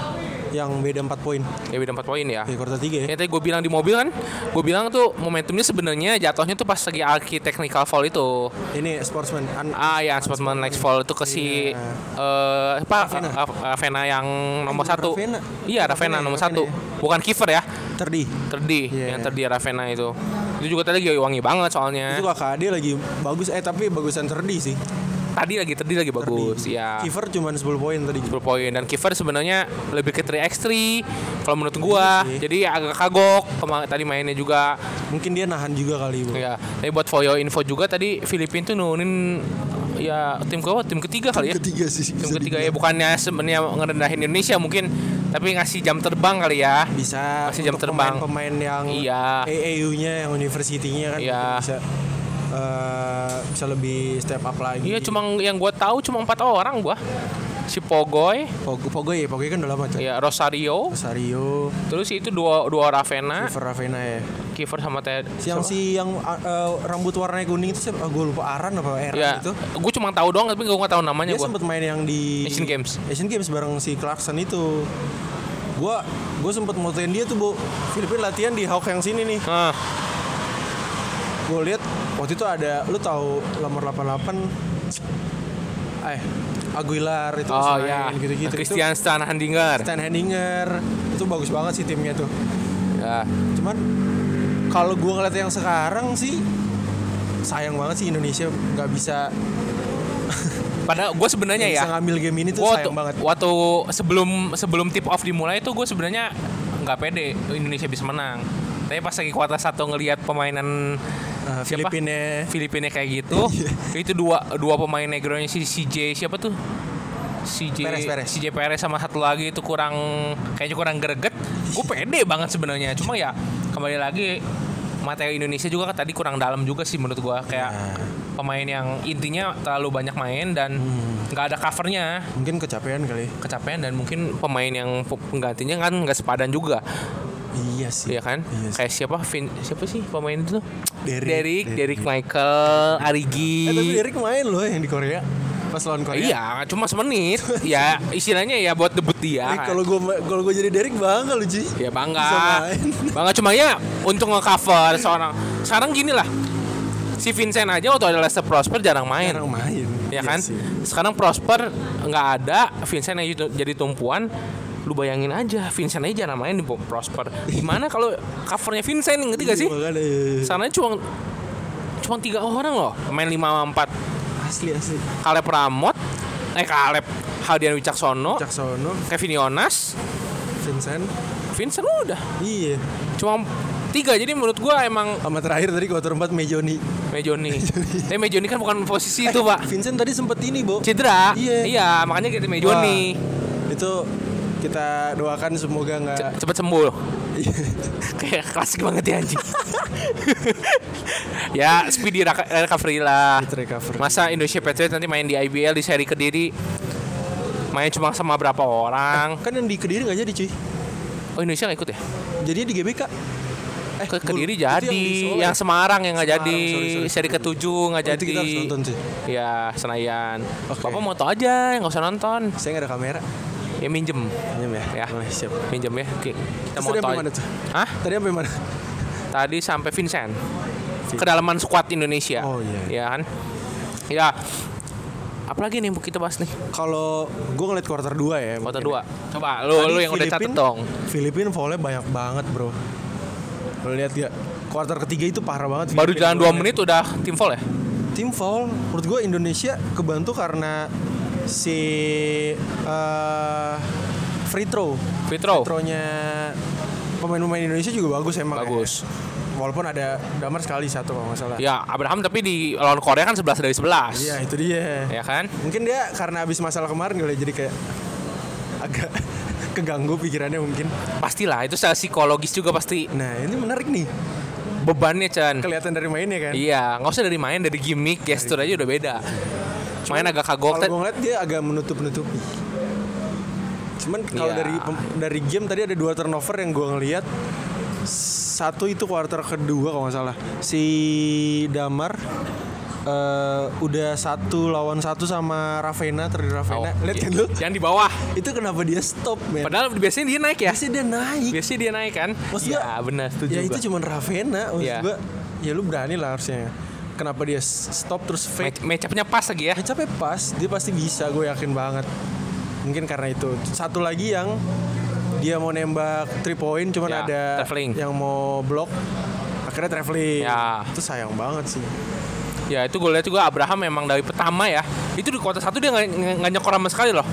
C: yang beda 4 poin.
B: ya beda 4 poin ya
C: Di quarter 3 ya.
B: yang tadi gue bilang di mobil kan gue bilang tuh momentumnya sebenarnya jatuhnya tuh pas lagi Aki technical foul itu
C: Ini sportsman. Un-
B: ah ya sportsman next foul itu ke si eh
C: Iya.
B: apa
C: Ravena.
B: Ra- Ravena yang nomor
C: bukan
B: satu
C: Ravena.
B: iya
C: Ravena ya,
B: Ravena nomor
C: Ravena
B: satu bukan kiper ya
C: Terdi.
B: Terdi
C: Iya.
B: yang Terdi Ravena itu itu juga tadi lagi wangi banget soalnya
C: Itu kakak dia lagi bagus eh tapi bagusan Terdi sih.
B: tadi lagi Terdi lagi bagus ya
C: Kiver cuman 10 poin tadi.
B: 10 poin dan kiper sebenarnya lebih ke 3x3 kalau menurut gua
C: Iya sih.
B: jadi agak kagok kema- tadi mainnya juga
C: Mungkin dia nahan juga kali Bu.
B: ya tapi buat Foyo info juga tadi Filipina tuh nurunin ya tim ke tim ketiga kali ya
C: Ketiga sih.
B: tim ketiga ya bukannya sebenarnya ngerendahin Indonesia mungkin tapi ngasih jam terbang kali ya
C: Bisa
B: Masih jam
C: untuk
B: terbang.
C: Pemain-pemain yang
B: Iya.
C: AAU-nya yang universitinya kan
B: Iya.
C: bisa eh, bisa lebih step up lagi.
B: iya cuma yang gua tahu cuma empat orang gua si Pogoy
C: Pogo, Pogo ya, Pogo kan udah lama coy.
B: ya Rosario
C: Rosario,
B: terus itu dua dua Ravena
C: River Ravena ya.
B: Kiefer sama Ted.
C: Si yang si yang uh, uh, rambut warnanya kuning itu siapa? gue lupa Aran apa Eran
B: Ya,
C: itu.
B: gue cuma tahu doang tapi gue nggak tahu namanya
C: Dia
B: gue.
C: sempet main yang di
B: Asian Games.
C: Asian Games bareng si Clarkson itu. Gua gue sempet motoin dia tuh, Bu. Filipina latihan di Hawk yang sini nih.
B: Ah,
C: gue lihat waktu itu ada lu tahu nomor 88 eh Aguilar itu
B: oh
C: main,
B: ya,
C: gitu-gitu
B: Christian Stan
C: itu
B: Handinger.
C: Stan Henninger itu bagus banget sih timnya tuh
B: Ya.
C: cuman kalau gue ngeliat yang sekarang sih sayang banget sih Indonesia nggak bisa
B: Iya, Padahal gue sebenarnya
C: nggak
B: ya,
C: bisa ngambil game ini tuh
B: gua
C: sayang
B: tuh-
C: banget Eh,
B: waktu sebelum sebelum tip off dimulai tuh gue sebenarnya nggak pede Indonesia bisa menang. Tapi pas lagi kuarter satu ngelihat pemainan
C: Eh,
B: siapa?
C: Filipina
B: Filipina kayak gitu,
C: *laughs* Iya.
B: itu dua dua pemain negronya si CJ siapa tuh? CJ
C: Perez, Perez.
B: CJ Perez sama satu lagi itu kurang kayaknya kurang greget. Gue
C: Iya.
B: pede banget sebenarnya. Cuma ya kembali lagi materi Indonesia juga kan tadi kurang dalam juga sih menurut gua kayak
C: Nah.
B: pemain yang intinya terlalu banyak main dan
C: Hmm.
B: nggak ada covernya
C: mungkin kecapean kali
B: kecapean dan mungkin pemain yang pe- penggantinya kan nggak sepadan juga
C: iya sih
B: Iya kan?
C: Iya sih.
B: Kayak siapa? Vin, siapa sih pemain itu?
C: Derrick.
B: Derrick, Derrick Michael,
C: eh,
B: Arigi.
C: tapi Derek main loh yang di Korea pas lawan Korea
B: Iya, cuma semenit. ya, istilahnya ya buat debut dia.
C: Eh, kalau gue kalau gue jadi Derek bangga lu Ji
B: ya
C: Bisa
B: bangga.
C: main.
B: Bangga cuma ya untuk ngecover seorang. Sekarang gini lah. Si Vincent aja waktu ada Lester Prosper jarang main.
C: Jarang main
B: ya
C: Iya
B: kan?
C: sih.
B: Sekarang Prosper nggak ada, Vincent aja tu- jadi tumpuan. Lu bayangin aja, Vincent aja jarang main di Prosper. Gimana kalau covernya Vincent ngerti gak sih?
C: Iya, makanya.
B: Sananya cuma cuma tiga orang loh, main lima sama empat.
C: asli asli
B: Kaleb Ramot, eh Kaleb Haldian Wicaksono,
C: Caksono
B: Kevin Yonas,
C: Vincent
B: Vincent udah.
C: iya
B: Cuma tiga jadi menurut gua emang Eh,
C: sama terakhir tadi quarter 4 Mejoni
B: Mejoni. Tapi
C: *laughs*
B: Mejoni kan bukan posisi itu, Pak.
C: Vincent tadi sempet ini Bo
B: Cedera.
C: Iya.
B: Iya, makanya kita Mejoni.
C: Itu kita doakan semoga nggak *laughs*
B: cepet sembuh loh. kayak klasik banget ya anjing *laughs* ya speedy raka- recovery lah
C: Speed recovery.
B: masa Indonesia Patriots nanti main di IBL di seri kediri main cuma sama berapa orang
C: kan yang di kediri nggak jadi cuy
B: oh Indonesia nggak ikut ya
C: jadinya di GBK eh
B: ke kediri
C: itu yang di
B: jadi
C: Solo
B: yang,
C: ya?
B: Semarang yang nggak jadi
C: Semarang, sorry, sorry.
B: seri ketujuh nggak
C: Berarti
B: jadi
C: kita harus nonton sih.
B: ya Senayan
C: Oke.
B: bapak mau tau aja nggak usah nonton
C: saya nggak ada kamera
B: ya minjem
C: Pinjam ya
B: Ya.
C: Boleh, siap
B: minjem ya oke kita
C: Terus
B: mau
C: tadi
B: tau
C: sampai mana tuh?
B: Hah?
C: tadi sampai mana
B: tadi sampai Vincent kedalaman squad Indonesia
C: Oh, iya,
B: ya kan ya apalagi nih yang kita bahas nih
C: kalau gue ngeliat quarter 2 ya mungkin.
B: kota dua coba lu
C: Tadi
B: Oh, lu yang udah catet
C: Filipin-
B: dong
C: Filipin volley banyak banget bro lo lihat ya quarter ketiga itu parah banget
B: baru
C: Filipin
B: jalan dua
C: volley.
B: menit udah tim foul ya
C: tim foul menurut gue Indonesia kebantu karena si eh, free throw
B: Fitro
C: free nya pemain-pemain Indonesia juga bagus emang ya.
B: Bagus.
C: walaupun ada damar sekali satu kalau nggak salah
B: ya Abraham tapi di lawan Korea kan 11 dari 11
C: Iya, itu dia
B: ya kan
C: mungkin dia karena habis masalah kemarin kali ya, jadi kayak agak *laughs* keganggu pikirannya mungkin
B: pastilah itu secara psikologis juga pasti
C: nah ini menarik nih
B: bebannya Chan
C: kelihatan dari mainnya kan
B: iya nggak usah dari main dari gimmick gestur aja udah beda main Kan agak kagok
C: kalau gue ngeliat dia agak menutup nutupi cuman kalau
B: Iya.
C: dari pem- dari game tadi ada dua turnover yang gue ngeliat satu itu quarter kedua kalau nggak salah si Damar eh, udah satu lawan satu sama Ravena terdiri Ravena lihat kan lu
B: Oh, iya. yang di bawah
C: itu kenapa dia stop men
B: padahal biasanya dia naik ya
C: Biasanya dia naik
B: biasanya dia naik kan
C: Maksudnya-
B: ya benar setuju
C: ya
B: gua.
C: itu cuman Ravena maksud
B: Iya.
C: gua, ya lu berani lah harusnya kenapa dia s- stop terus fake
B: Match- match-up-nya pas lagi ya
C: Kecapnya Eh, pas, dia pasti bisa, gue yakin banget. Mungkin karena itu. Satu lagi yang dia mau nembak three point, cuman
B: Ya,
C: ada
B: traveling.
C: yang mau blok. Akhirnya traveling.
B: Ya.
C: Itu sayang banget sih.
B: Ya itu gue lihat juga Abraham memang dari pertama ya Itu di kota satu dia nggak- nggak nggak nyekor sama sekali loh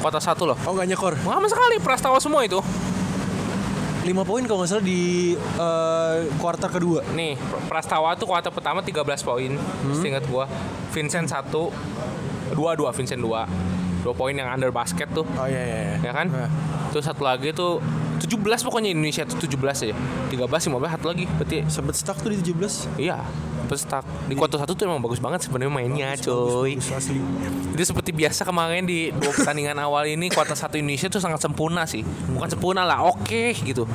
B: Kota satu loh
C: Oh nggak nyekor.
B: Nggak sama sekali Prastawa semua itu
C: 5 poin kalau nggak salah di eh, quarter kedua.
B: Nih Prastawa tuh kota pertama 13 poin
C: Hmm.
B: Seingat gue Vincent satu Dua dua Vincent dua Dua poin yang under basket tuh
C: Oh iya iya. iya.
B: Ya kan
C: Nah,
B: Terus satu lagi tuh 17 pokoknya Indonesia tuh 17 aja 13 15 satu lagi Berarti
C: sempet stuck tuh di 17.
B: Iya Terus tak- di kota satu tuh emang bagus banget sebenarnya mainnya Iya, cuy
C: Bagus, asli.
B: Jadi seperti biasa kemarin di dua pertandingan awal ini kuartal satu Indonesia tuh sangat sempurna sih. Bukan sempurna lah, oke gitu.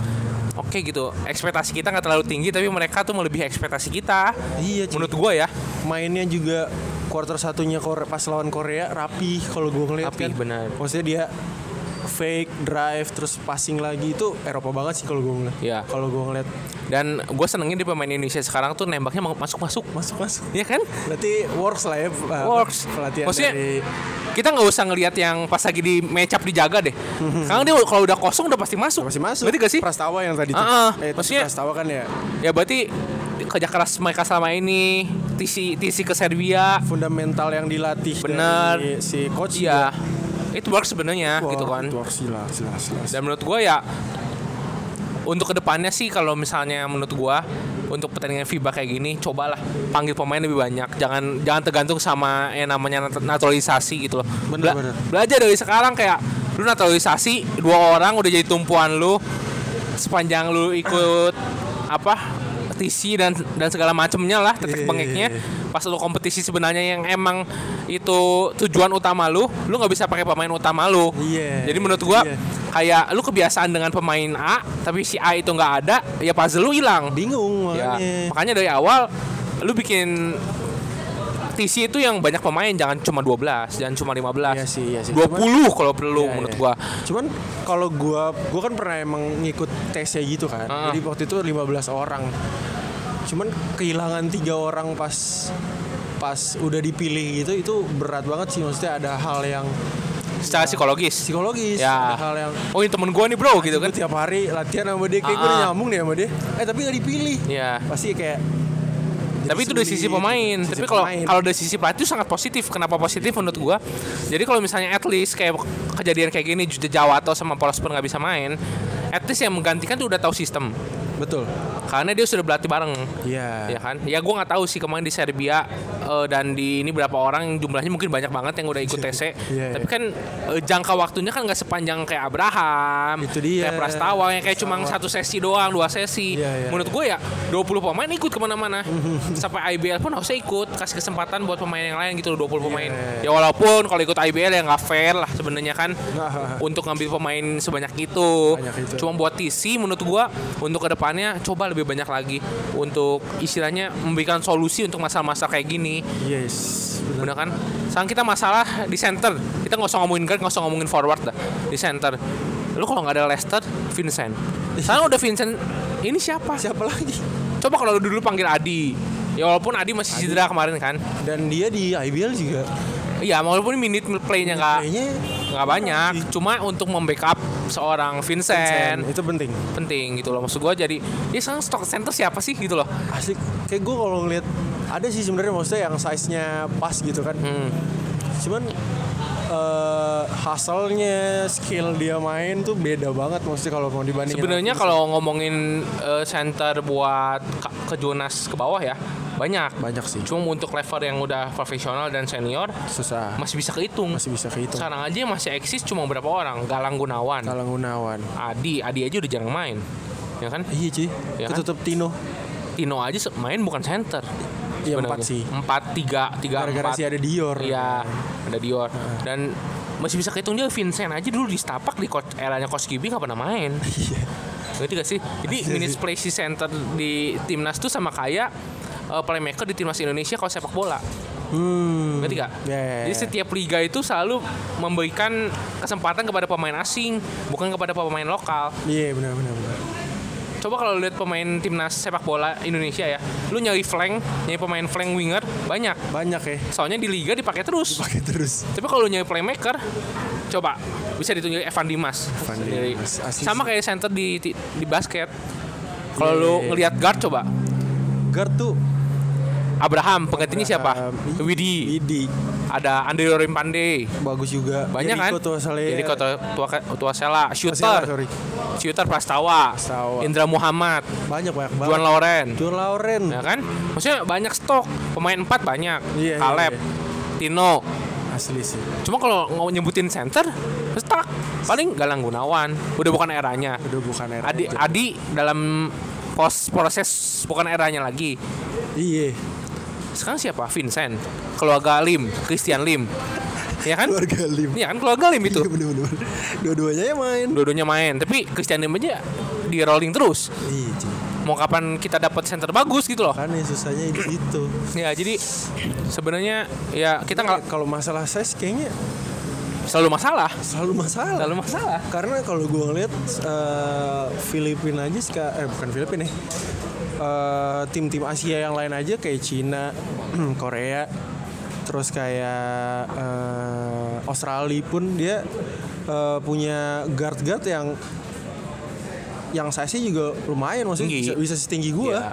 B: Oke gitu. Ekspektasi kita nggak terlalu tinggi tapi mereka tuh melebihi ekspektasi kita.
C: Iya, cuy.
B: Menurut gua ya.
C: mainnya juga quarter satunya Kore- pas lawan Korea rapi kalau gue ngeliat
B: Rapi,
C: kan.
B: benar.
C: Maksudnya dia fake drive terus passing lagi itu Eropa banget sih kalau gue ngeliat.
B: Iya.
C: Kalau gue ngeliat
B: Dan gua senengin di pemain Indonesia sekarang tuh nembaknya masuk-masuk.
C: masuk masuk.
B: Iya kan?
C: Berarti works lah ya uh,
B: Works.
C: pelatihan
B: Maksudnya-
C: dari
B: Kita nggak usah ngelihat yang pas lagi di matchup dijaga deh. Karena dia kalau udah kosong udah pasti masuk.
C: masih masuk.
B: Berarti gak sih?
C: Prastawa yang tadi
B: Ah, ah.
C: Eh, tapi
B: Maksudnya-
C: Prastawa kan ya
B: Ya berarti kerja keras mereka selama ini. Tisi tisi ke Serbia.
C: fundamental yang dilatih
B: Benar.
C: dari si coach
B: Iya. Itu works sebenarnya
C: juga.
B: gitu
C: Wah,
B: kan.
C: it works jelas jelas jelas.
B: Dan menurut gue ya untuk kedepannya sih kalau misalnya menurut gue untuk pertandingan FIBA kayak gini cobalah panggil pemain lebih banyak jangan jangan tergantung sama yang namanya nat- naturalisasi gitu loh
C: Bener, bener.
B: belajar dari sekarang kayak lu naturalisasi dua orang udah jadi tumpuan lu sepanjang lu ikut apa TC dan dan segala macemnya
C: Iya,
B: lah tetek bengeknya pas lu kompetisi sebenarnya yang emang itu tujuan utama lu lu nggak bisa pakai pemain utama lu
C: Iya,
B: jadi menurut gua
C: iya.
B: kayak lu kebiasaan dengan pemain A tapi si A itu nggak ada ya puzzle lu hilang
C: bingung
B: ya
C: makanya.
B: makanya dari awal lu bikin TC itu yang banyak pemain jangan cuma 12 jangan cuma 15
C: Iya sih, iya sih.
B: 20 kalau perlu
C: Iya,
B: menurut
C: iya.
B: gua
C: Cuman kalau gua gua kan pernah emang ngikut tesnya gitu kan.
B: Ah.
C: Jadi waktu itu 15 orang. Cuman kehilangan tiga orang pas pas udah dipilih gitu itu berat banget sih maksudnya ada hal yang
B: secara
C: Iya.
B: psikologis
C: psikologis,
B: Ya.
C: ada hal yang
B: oh ini temen gua nih bro gitu
C: Gua
B: kan
C: tiap hari latihan sama dia kayak gua
B: Ah.
C: udah nyambung deh sama dia. Eh tapi gak dipilih.
B: ya
C: Pasti kayak
B: tapi itu dari sisi pemain.
C: Sisi
B: tapi kalau
C: pemain.
B: kalau dari sisi pelatih itu sangat positif. Kenapa positif menurut gua? Jadi kalau misalnya at least kayak kejadian kayak gini Ju- Jawa atau sama Prosper nggak bisa main, at least yang menggantikan tuh udah tahu sistem
C: Betul.
B: karena dia sudah berlatih bareng
C: Iya.
B: ya kan ya gue nggak tahu sih kemarin di Serbia eh, dan di ini berapa orang jumlahnya mungkin banyak banget yang udah ikut TC
C: Iya,
B: tapi kan eh, jangka waktunya kan nggak sepanjang kayak Abraham
C: Itu dia.
B: kayak Prastawa yang kayak cuma satu sesi doang dua sesi
C: Iya, iya.
B: menurut gue ya 20 pemain ikut
C: *laughs*
B: kemana-mana sampai IBL pun harusnya ikut kasih kesempatan buat pemain yang lain gitu loh 20
C: Iya,
B: pemain ya walaupun kalau ikut IBL ya nggak fair lah sebenarnya
C: *laughs*
B: kan
C: Nah.
B: untuk ngambil pemain sebanyak itu
C: Banyak itu.
B: cuma buat TC menurut gua untuk kedepannya coba lebih banyak lagi untuk istilahnya memberikan solusi untuk masalah-masalah kayak gini
C: Yes. Benar.
B: bener kan sekarang kita masalah di center kita nggak usah ngomongin guard nggak usah ngomongin forward dah di center lu kalau nggak ada Lester Vincent sekarang udah Vincent ini siapa
C: Siapa lagi?
B: coba kalau lu dulu panggil Adi ya walaupun Adi masih cedera kemarin kan
C: Dan dia di IBL juga.
B: iya walaupun minute playnya nggak
C: Kayaknya
B: nggak banyak cuma untuk membackup seorang Vincent
C: itu penting.
B: penting gitu loh maksud gue jadi ya sekarang stock center siapa sih gitu loh
C: Asli kayak gue kalau ngeliat ada sih sebenarnya maksudnya yang size-nya pas gitu
B: Hmm.
C: kan. Cuman eh hasilnya skill dia main tuh beda banget maksudnya kalau mau dibandingin.
B: sebenarnya kalau ngomongin eh, center buat ka- ke Jonas ke bawah ya banyak
C: Banyak sih.
B: cuma untuk level yang udah profesional dan senior
C: susah.
B: masih bisa kehitung
C: Masih bisa kehitung.
B: sekarang aja yang masih eksis cuma berapa orang Galang Gunawan
C: Kalau Gunawan.
B: Adi Adi aja udah jarang main ya kan
C: Iya cuy.
B: Ya kan?
C: Ketutup Tino.
B: Tino aja se- main bukan center
C: Iya empat
B: sebenarnya.
C: sih.
B: empat tiga tiga
C: Gara-gara
B: empat
C: si ada Dior.
B: Iya, ada Dior. Dan masih bisa kehitung dia Vincent aja dulu di Stapak di coach, eranya Coach Gibi nggak pernah main. Ngerti gak sih? Jadi minutes play si center di timnas tuh sama kayak eh, playmaker di timnas Indonesia kalau sepak bola.
C: Hmm.
B: Ngerti gak?
C: Ya, ya, ya.
B: Jadi setiap liga itu selalu memberikan kesempatan kepada pemain asing, bukan kepada pemain lokal.
C: Iya benar benar benar.
B: Coba kalau lihat pemain timnas sepak bola Indonesia ya, lu nyari flank, nyari pemain flank winger banyak.
C: Banyak ya.
B: Soalnya di liga dipakai terus.
C: Pakai terus.
B: Tapi kalau lu nyari playmaker, coba bisa ditunjuk Evan Dimas.
C: Evan
B: Sendiri.
C: Dimas, asli
B: Sama
C: sih.
B: kayak center di di, di basket. Kalau lu
C: Iya.
B: ngelihat guard coba
C: Guard tuh
B: Abraham penggantinya siapa?
C: um,
B: Widi.
C: Widi.
B: Ada Andre Rimpande.
C: Bagus juga.
B: Banyak kan?
C: Jericho tuh asalnya.
B: Jadi kota tua tua Sela,
C: Asalnya,
B: shooter,
C: sorry.
B: shooter Prastawa,
C: Prastawa.
B: Indra Muhammad,
C: Banyak banyak banget.
B: Juan Lauren.
C: Juan Lauren.
B: Ya kan? Maksudnya banyak stok pemain empat banyak.
C: Iya, iya,
B: Kaleb,
C: iya.
B: Tino.
C: Asli sih.
B: Cuma kalau ngomong nyebutin center, stuck. Paling Galang Gunawan. Udah bukan eranya.
C: Udah bukan era.
B: Adi
C: itu.
B: Adi dalam pos proses bukan eranya lagi.
C: Iya.
B: Sekarang siapa? Vincent. Keluarga Lim, Christian Lim. Iya *laughs* kan?
C: Keluarga Lim.
B: Iya kan keluarga Lim itu.
C: Iya bener bener. Dua-duanya yang main.
B: Dua-duanya main, tapi Christian Lim aja di rolling terus.
C: Iya. cuy.
B: Mau kapan kita dapat center bagus gitu loh.
C: Kan yang susahnya di situ.
B: Ya, jadi sebenarnya ya kita nggak
C: kalau masalah size kayaknya
B: selalu masalah.
C: selalu masalah.
B: Selalu masalah.
C: Karena kalau gue ngeliat eh, Filipina aja seka- eh bukan Filipina ya. Eh, tim-tim Asia yang lain aja kayak Cina, *clears throat* Korea, terus kayak eh, Australia pun dia eh, punya guard-guard yang yang size juga lumayan maksudnya
B: Tinggi.
C: bisa, bisa setinggi gue.
B: Ya,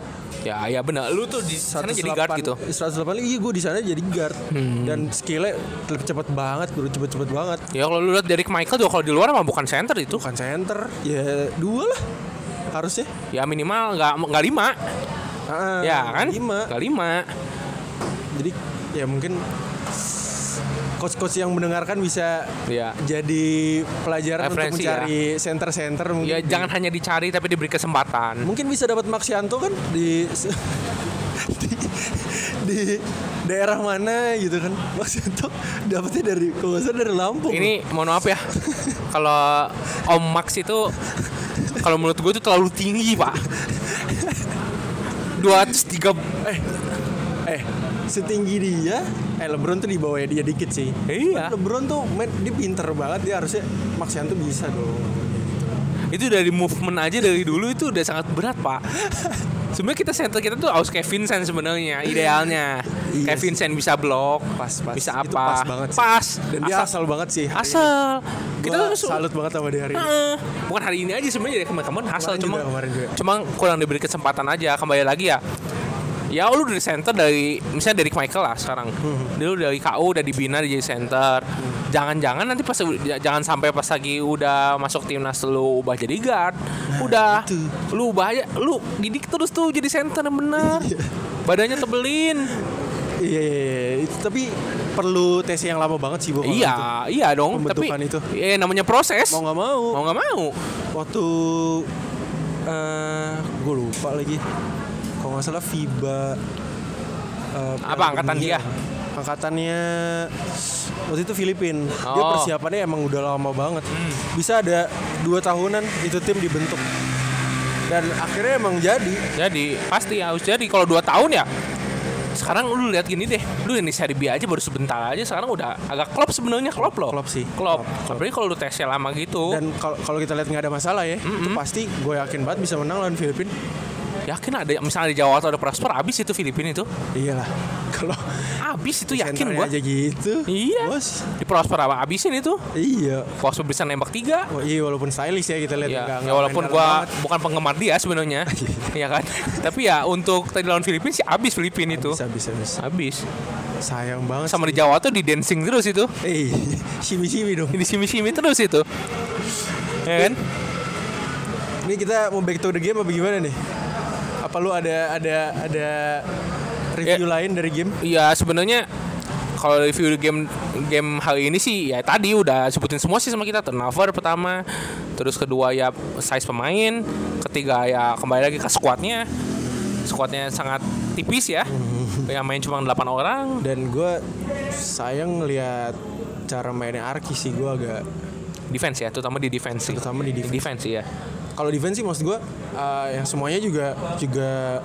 B: ya, ya benar. Lu tuh di sana jadi guard gitu. Hmm.
C: 180 iya gue di sana jadi guard dan skillnya cepet banget bro cepet-cepet banget
B: Ya kalau lu lihat Derek Michael juga kalau di luar mah bukan center itu.
C: bukan center ya dua lah harusnya
B: Ya minimal nggak nggak lima.
C: Ah,
B: ya kan?
C: lima.
B: Nggak lima.
C: Jadi ya mungkin coach-coach yang mendengarkan bisa
B: Iya.
C: jadi pelajaran
B: Referensi,
C: untuk mencari center-center mungkin.
B: Ya jangan hanya dicari tapi diberi kesempatan.
C: Mungkin bisa dapat Maxianto kan di *laughs* di, di daerah mana gitu kan. Maxianto dapatnya dari kalau nggak salah dari Lampung.
B: Ini mohon maaf *laughs* ya. kalau Om Max itu kalau menurut gue itu terlalu tinggi, Pak. 203
C: eh eh setinggi dia eh LeBron tuh di bawahnya dia dikit sih.
B: Iya.
C: LeBron tuh men, dia pinter banget dia harusnya Maxianto bisa dong.
B: itu dari movement aja dari dulu itu udah sangat berat, Pak. Sebenarnya kita center kita tuh harus Kevin Sen sebenarnya *laughs* idealnya.
C: Iya
B: Kevin Sen bisa blok,
C: Pas pas
B: bisa apa?
C: Itu pas banget sih.
B: Pas.
C: Dan dia asal, banget sih. hari ini.
B: asal. Kita
C: Gua
B: tuh su-
C: salut banget sama dia hari ini.
B: Heeh. bukan hari ini aja sebenarnya dari kemarin-kemarin hasil
C: Kemarin
B: cuma
C: juga, kemarin juga.
B: cuma kurang diberi kesempatan aja kembali lagi ya ya lu
C: Mm-hmm.
B: dari center dari misalnya dari Michael lah sekarang dulu dari KU udah dibina jadi center Jakarta jangan-jangan nanti pas jangan sampai pas lagi udah masuk timnas lu ubah jadi guard
C: Nah,
B: udah
C: gitu.
B: lu ubah aja lu didik terus tuh jadi center yang bener badannya tebelin
C: *laughs* Iya, iya, iya. Itu- tapi perlu tes yang lama banget sih Bo, kalau
B: iya
C: gitu.
B: iya dong tapi
C: Pembentukan itu.
B: eh namanya proses
C: Mau nggak mau.
B: mau nggak mau
C: Waktu eh gue lupa lagi. Kalau nggak salah FIBA. eh,
B: Apa angkatan
C: dunia.
B: dia?
C: Angkatannya waktu itu Filipin. Dia
B: Oh.
C: persiapannya emang udah lama banget. Bisa ada dua tahunan itu tim dibentuk. Dan akhirnya emang jadi.
B: Jadi pasti harus jadi kalau 2 tahun ya. Sekarang lu lihat gini deh, lu ini seri B aja baru sebentar aja sekarang udah agak klop sebenarnya klop loh.
C: Klop sih.
B: Klop. Apalagi kalau lu tesnya lama gitu.
C: Dan kalau kalau kita lihat nggak ada masalah ya, itu pasti gue yakin banget bisa menang lawan Filipin.
B: yakin ada misalnya di Jawa atau ada Prosper abis itu Filipina itu.
C: Iyalah. Kalau
B: Abis itu yakin
C: senternya
B: gua.
C: aja gitu.
B: Iya.
C: Bos.
B: Di Prosper apa abisin itu.
C: Iya.
B: Prosper bisa nembak tiga.
C: Wah, iya walaupun stylish ya kita lihat
B: Ya,
C: nggak-
B: ya
C: nggak
B: walaupun
C: main
B: gua
C: dalam Iya.
B: bukan penggemar dia
C: *laughs*
B: sebenarnya. ya kan? Tapi ya untuk tadi lawan Filipina sih abis Filipina itu.
C: banget. bisa bisa bisa.
B: Abis.
C: Sayang banget
B: Sama di Jawa tuh di dancing terus itu.
C: Eh, *laughs* simi-simi dong.
B: Di simi-simi terus itu.
C: Iya
B: Ya kan?
C: Ini kita mau back to the game apa gimana nih? Apa lu ada ada ada
B: Ya.
C: review lain dari game?
B: Iya sebenarnya kalau review game game hari ini sih ya tadi udah sebutin semua sih sama kita turnover pertama, terus kedua ya size pemain, ketiga ya kembali lagi ke squadnya, squadnya sangat tipis
C: *laughs*
B: ya, yang main cuma 8 orang.
C: Dan gua sayang ngelihat cara mainnya Arki sih gua agak
B: Defense ya, terutama di defense. sih.
C: Terutama di defense.
B: ya.
C: kalau defense sih maksud gue yang semuanya juga juga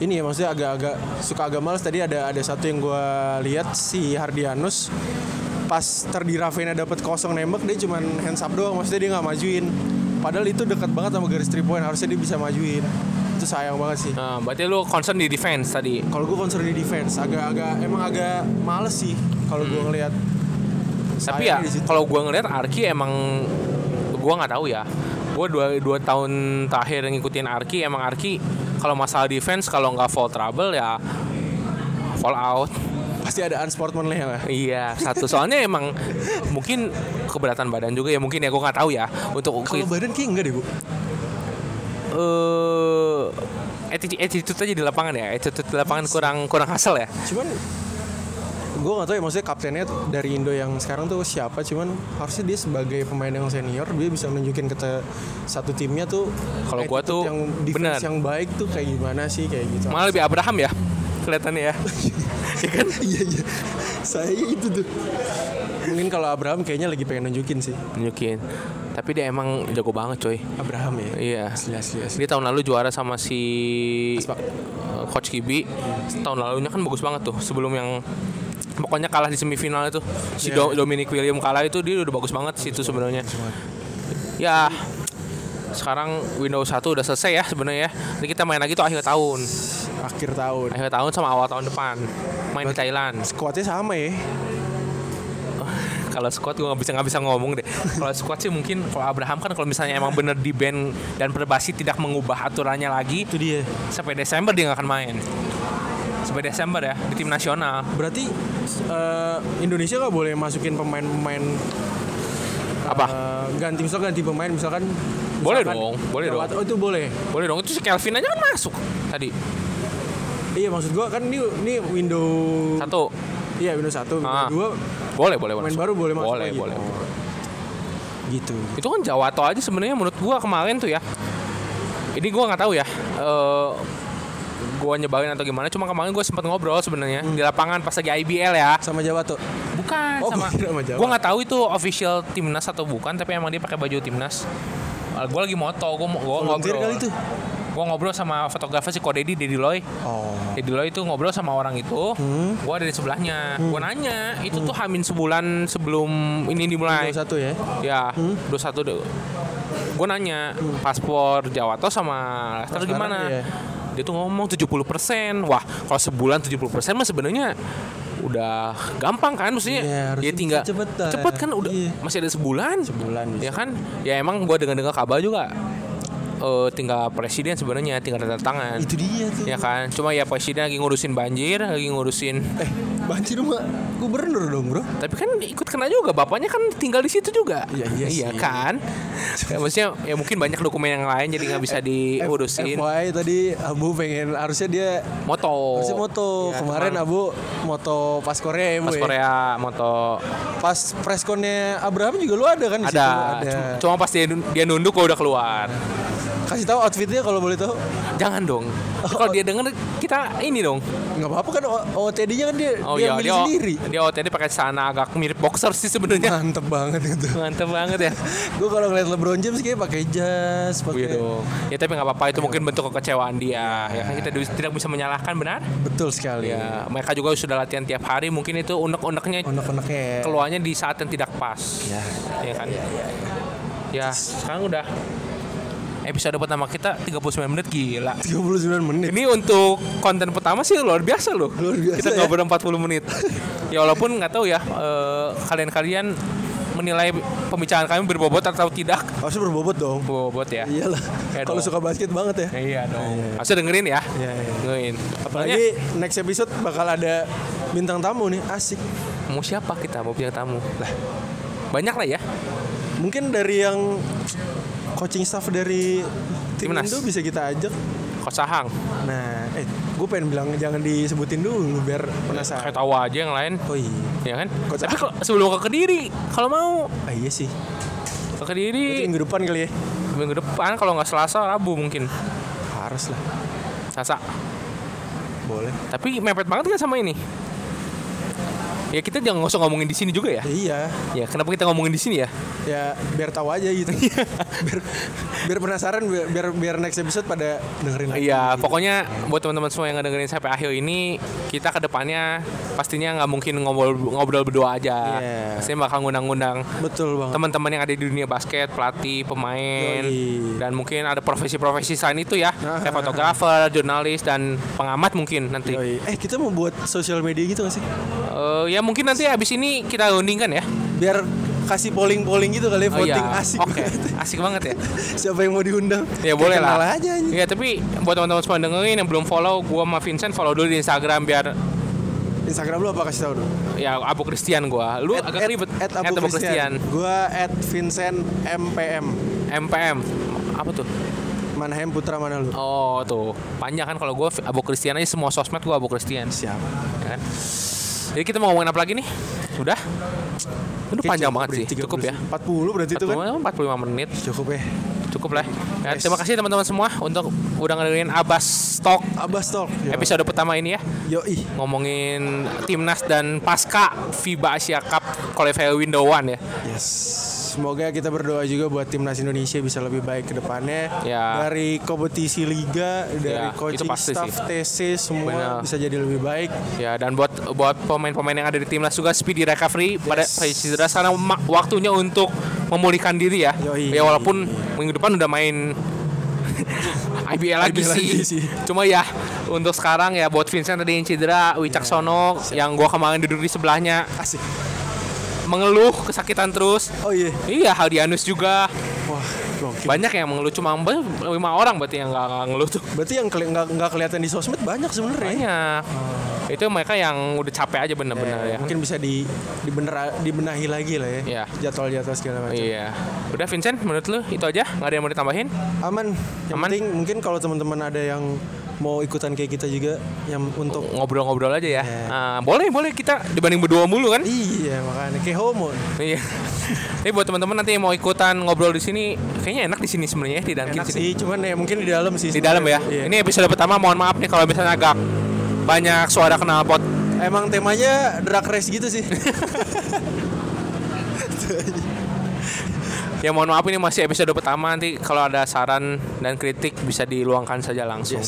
C: ini ya maksudnya agak-agak suka agak males tadi ada ada satu yang gue lihat si Hardianus pas terdi Raffena dapat kosong nembak dia cuman hands up doang maksudnya dia nggak majuin padahal itu dekat banget sama garis three point harusnya dia bisa majuin itu sayang banget sih
B: Nah, berarti lu concern di defense tadi.
C: kalau gue concern di defense agak-agak emang agak males sih kalau gue ngelihat
B: Hmm. Tapi ya
C: Sayangnya di situ.
B: kalau gua ngeliat Arki emang gua nggak tahu ya. Gua dua, dua tahun terakhir ngikutin Arki emang Arki kalau masalah defense kalau nggak fall trouble ya fall out. *laughs*
C: pasti ada unsportmanlike lah
B: Iya satu soalnya emang mungkin keberatan badan juga ya mungkin ya gua nggak tahu ya untuk
C: kalau badan kayak enggak deh bu
B: eh attitude, attitude aja di lapangan ya attitude di lapangan kurang kurang hasil ya
C: cuman gue gak tau ya maksudnya kaptennya dari Indo yang sekarang tuh siapa cuman harusnya dia sebagai pemain yang senior dia bisa nunjukin ke te- satu timnya tuh
B: Kalau gua
C: attitude
B: tuh
C: yang defense
B: bener.
C: yang baik tuh kayak gimana sih kayak gitu *laughs*
B: malah lebih Abraham ya kelihatannya ya
C: ya kan iya iya saya itu tuh mungkin kalau Abraham kayaknya lagi pengen nunjukin sih
B: *laughs* nunjukin tapi dia emang jago banget coy
C: Abraham ya
B: Iya.
C: asli asli asli
B: Dia tahun lalu juara sama si
C: Aspak.
B: eh, Coach Kibi. Tahun lalunya kan bagus banget tuh sebelum yang pokoknya kalah di semifinal itu. Si
C: Iya.
B: Do- Dominic William kalah itu dia udah bagus banget sih itu sebenarnya. Ya sekarang Windows 1 udah selesai ya sebenarnya. Jadi kita main lagi tuh akhir tahun.
C: akhir tahun
B: Akhir tahun sama awal tahun depan. Main di Thailand.
C: kuatnya sama ya
B: Kalau squad gue nggak bisa nggak bisa ngomong deh. Kalau squad sih mungkin kalau Abraham kan kalau misalnya emang bener di band dan perbasi tidak mengubah aturannya lagi,
C: itu dia
B: sampai Desember dia nggak akan main sampai Desember ya di tim nasional
C: berarti eh, Indonesia gak boleh masukin pemain-pemain
B: apa
C: Eh, ganti misalkan ganti pemain misalkan
B: Boleh
C: misalkan
B: dong, boleh
C: Jawa-
B: dong.
C: Oh, itu boleh.
B: boleh dong itu si Kelvin aja kan masuk tadi
C: Iya maksud gua kan ini ini window
B: satu
C: Iya window satu, window
B: Ah.
C: dua
B: boleh boleh
C: pemain
B: masuk.
C: baru boleh masuk
B: boleh
C: lagi.
B: boleh
C: Gitu.
B: itu kan Jawato aja sebenarnya menurut gua kemarin tuh ya ini gua nggak tahu ya eh gua nyebarin atau gimana cuma kemarin gua sempat ngobrol sebenarnya di lapangan pas lagi IBL ya
C: Sama Jawa tuh.
B: bukan
C: Oh,
B: sama
C: gua kira sama Jawa.
B: gua nggak tahu itu official timnas atau bukan tapi emang dia pakai baju timnas Eh, gua lagi moto gua mau gua
C: Volunteer
B: ngobrol
C: kali tuh.
B: gua ngobrol sama fotografer si Kodedi Dedi Loy
C: Oh.
B: Jadi lo itu ngobrol sama orang itu,
C: Hmm.
B: gua ada di sebelahnya. Gua nanya, itu tuh hamin sebulan sebelum ini dimulai.
C: Window satu ya.
B: Ya, 21 deh. Gua nanya, paspor Jawato sama
C: Sekarang
B: Lester gimana?
C: iya.
B: Dia tuh ngomong 70%. Wah, kalau sebulan 70% mah sebenarnya udah gampang kan maksudnya.
C: Iya, harusnya
B: dia tinggal
C: bisa cepetan.
B: cepet kan udah
C: Iya.
B: masih ada sebulan.
C: Bulan
B: Ya kan? Ya emang gua dengar-dengar kabar juga eh eh, tinggal presiden sebenarnya tinggal tanda tangan
C: Itu dia tuh.
B: ya kan cuma ya presiden lagi ngurusin banjir lagi ngurusin
C: Eh, banjir mah gubernur dong, Bro.
B: tapi kan ikut kena juga bapaknya kan tinggal di situ juga
C: Iya, iya sih.
B: kan ya, maksudnya ya mungkin banyak dokumen yang lain jadi nggak bisa
C: Eh,
B: diurusin
C: FYI tadi Abu pengen harusnya dia
B: moto
C: harusnya eh, moto
B: Ya,
C: kemarin
B: cuman
C: Abu moto pas Korea ya, Bu,
B: pas
C: ya?
B: Korea moto
C: Pas preskonnya Abraham juga lu ada kan di
B: ada
C: situ? Ada.
B: Cuma- cuma pas dia, dia nunduk gua udah keluar
C: Kasih tahu outfitnya kalau boleh tahu.
B: jangan dong kalau dia denger kita ini dong
C: Nggak apa-apa kan OOTD-nya kan dia
B: oh
C: dia
B: iya
C: milih
B: dia
C: sendiri.
B: dia OTD pakai sana agak mirip boxer sih sebenarnya
C: *laughs* Mantep banget itu.
B: mantep banget ya
C: Gue kalau ngeliat LeBron James kayak pakai jas,
B: Iya
C: pakai
B: dong. Ya tapi nggak apa-apa itu
C: Iya.
B: mungkin bentuk kekecewaan dia. Ya kan kita du- tidak bisa menyalahkan benar.
C: betul sekali.
B: Ya mereka juga sudah latihan tiap hari. Mungkin itu unek-uneknya
C: Anak-anaknya
B: keluarnya di saat yang tidak pas. Ya, kan. Ya, sekarang udah episode pertama kita 39 menit *laughs* gila.
C: 39 menit.
B: Ini untuk konten pertama sih luar biasa loh.
C: Luar biasa
B: Kita
C: ya.
B: ngobrol 40 *laughs* menit. ya walaupun nggak tahu ya eh, kalian-kalian menilai pembicaraan kami berbobot atau tidak.
C: Harusnya berbobot dong.
B: Berbobot ya.
C: Iyalah.
B: Ya
C: Kalau
B: dong.
C: suka basket banget ya.
B: Iya dong. Harusnya dengerin ya.
C: Iya, iya.
B: Dengerin. Apalagi
C: Apalagi next episode bakal ada bintang tamu nih, asik.
B: mau siapa kita mau punya tamu? Lah. Banyak lah ya.
C: Mungkin dari yang coaching staff dari tim
B: Timnas.
C: Indo bisa kita ajak.
B: Coach Sahang.
C: Nah, eh gue pengen bilang jangan disebutin dulu biar penasaran.
B: Kayak tahu aja yang lain.
C: Oh iya.
B: Ya kan?
C: Coach
B: Tapi kalau sebelum ke Kediri, kalau mau
C: Ah, iya sih.
B: ke Kediri
C: Minggu depan kali ya.
B: minggu depan kalau nggak Selasa Rabu mungkin.
C: Harus lah.
B: Selasa.
C: Boleh.
B: Tapi mepet banget kan sama ini. Ya kita jangan nggak usah ngomongin di sini juga ya.
C: Ya, iya.
B: Ya kenapa kita ngomongin di sini ya?
C: Ya biar tahu aja gitu.
B: Iya.
C: *laughs* biar, biar penasaran biar biar, biar next episode pada dengerin lagi.
B: Iya, pokoknya buat teman-teman semua yang ngedengerin sampai akhir ini, kita ke depannya pastinya nggak mungkin ngobrol ngobrol berdua aja.
C: Iya.
B: Pastinya bakal ngundang-ngundang
C: Betul banget.
B: teman-teman yang ada di dunia basket, pelatih, pemain,
C: Yoi.
B: dan mungkin ada profesi-profesi selain itu ya, kayak fotografer, jurnalis dan pengamat mungkin nanti.
C: Yoi. Eh kita mau buat sosial media gitu gak sih?
B: Eh, ya mungkin nanti habis ini kita rundingkan ya.
C: Biar kasih polling-polling gitu kali ya,
B: Oh iya.
C: voting asik
B: Oke,
C: banget.
B: asik banget ya.
C: *laughs* Siapa yang mau diundang?
B: Ya boleh
C: Kenal
B: lah.
C: aja anjing.
B: Ya tapi buat teman-teman semua yang dengerin yang belum follow, gua sama Vincent follow dulu di Instagram biar
C: Instagram lu apa kasih tahu dulu?
B: ya Abu Christian gua. Lu agak ribet.
C: At, at Abu Christian. Gua at Vincent MPM.
B: MPM. Apa tuh?
C: Manahem Putra mana lu?
B: Oh tuh panjang kan kalau gua Abu Christian aja semua sosmed gua Abu Christian.
C: Siap.
B: Ya kan? Jadi kita mau ngomongin apa lagi nih? Udah? Udah panjang banget sih.
C: Berarti
B: Cukup ya.
C: 40 berarti itu kan?
B: Cukup, 45 menit
C: Cukup ya.
B: cukup lah. Ya, terima kasih teman-teman semua untuk udah ngedengerin Abas Talk
C: Abas Talk.
B: episode pertama ini ya.
C: Yoi.
B: ngomongin timnas dan pasca FIBA Asia Cup qualifier window one ya.
C: Yes. Semoga kita berdoa juga buat timnas Indonesia bisa lebih baik ke depannya.
B: Ya.
C: Dari kompetisi liga, dari
B: Ya, itu
C: coaching
B: pasti
C: staff, TC semua
B: Benar.
C: bisa jadi lebih baik.
B: Ya dan buat buat pemain-pemain yang ada di timnas juga speedy recovery pada posisi cedera karena ma- waktunya untuk memulihkan diri ya.
C: Yoi.
B: Ya walaupun minggu depan udah
C: *laughs*
B: main IBL
C: IBL
B: lagi, sih.
C: lagi sih.
B: Cuma ya untuk sekarang ya buat Vincent tadi yang cedera,
C: Iya.
B: Wicaksono yang gua kemarin duduk di sebelahnya
C: Asik.
B: mengeluh kesakitan terus.
C: Oh iya.
B: Iya, Haldianus juga
C: Wah, gokil.
B: banyak yang mengeluh cuma lima orang berarti yang nggak- nggak ngeluh tuh.
C: Berarti yang keli- nggak nggak kelihatan di sosmed banyak sebenarnya.
B: banyak Iya.
C: Oh.
B: itu mereka yang udah capek aja bener-bener ya
C: Eh, Mungkin bisa di dibener, dibenahi lagi lah ya.
B: Iya.
C: Jadwal-jadwal segala macam.
B: iya udah Vincent menurut lu itu aja nggak ada yang mau ditambahin
C: Aman. Yang
B: Aman.
C: penting mungkin kalau teman-teman ada yang mau ikutan kayak kita juga yang untuk
B: ngobrol-ngobrol aja ya Ah, boleh boleh kita dibanding berdua mulu kan
C: Iya makanya kayak homo.
B: iya tapi buat teman-teman nanti yang mau ikutan ngobrol di sini kayaknya enak di sini sebenarnya ya, di dalam
C: Enak
B: sini
C: sih, cuman ya mungkin di dalam sih.
B: di dalam ya
C: Iya.
B: ini episode pertama mohon maaf nih kalau misalnya agak banyak suara knalpot
C: Emang temanya drag race gitu sih. *laughs*
B: ya mohon maaf ini masih episode pertama nanti kalau ada saran dan kritik bisa diluangkan saja langsung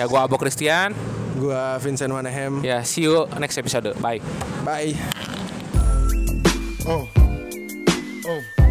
B: ya gua Abo Christian
C: Gua Vincent Manahem.
B: ya see you next episode bye
C: Bye.
D: Oh. Oh.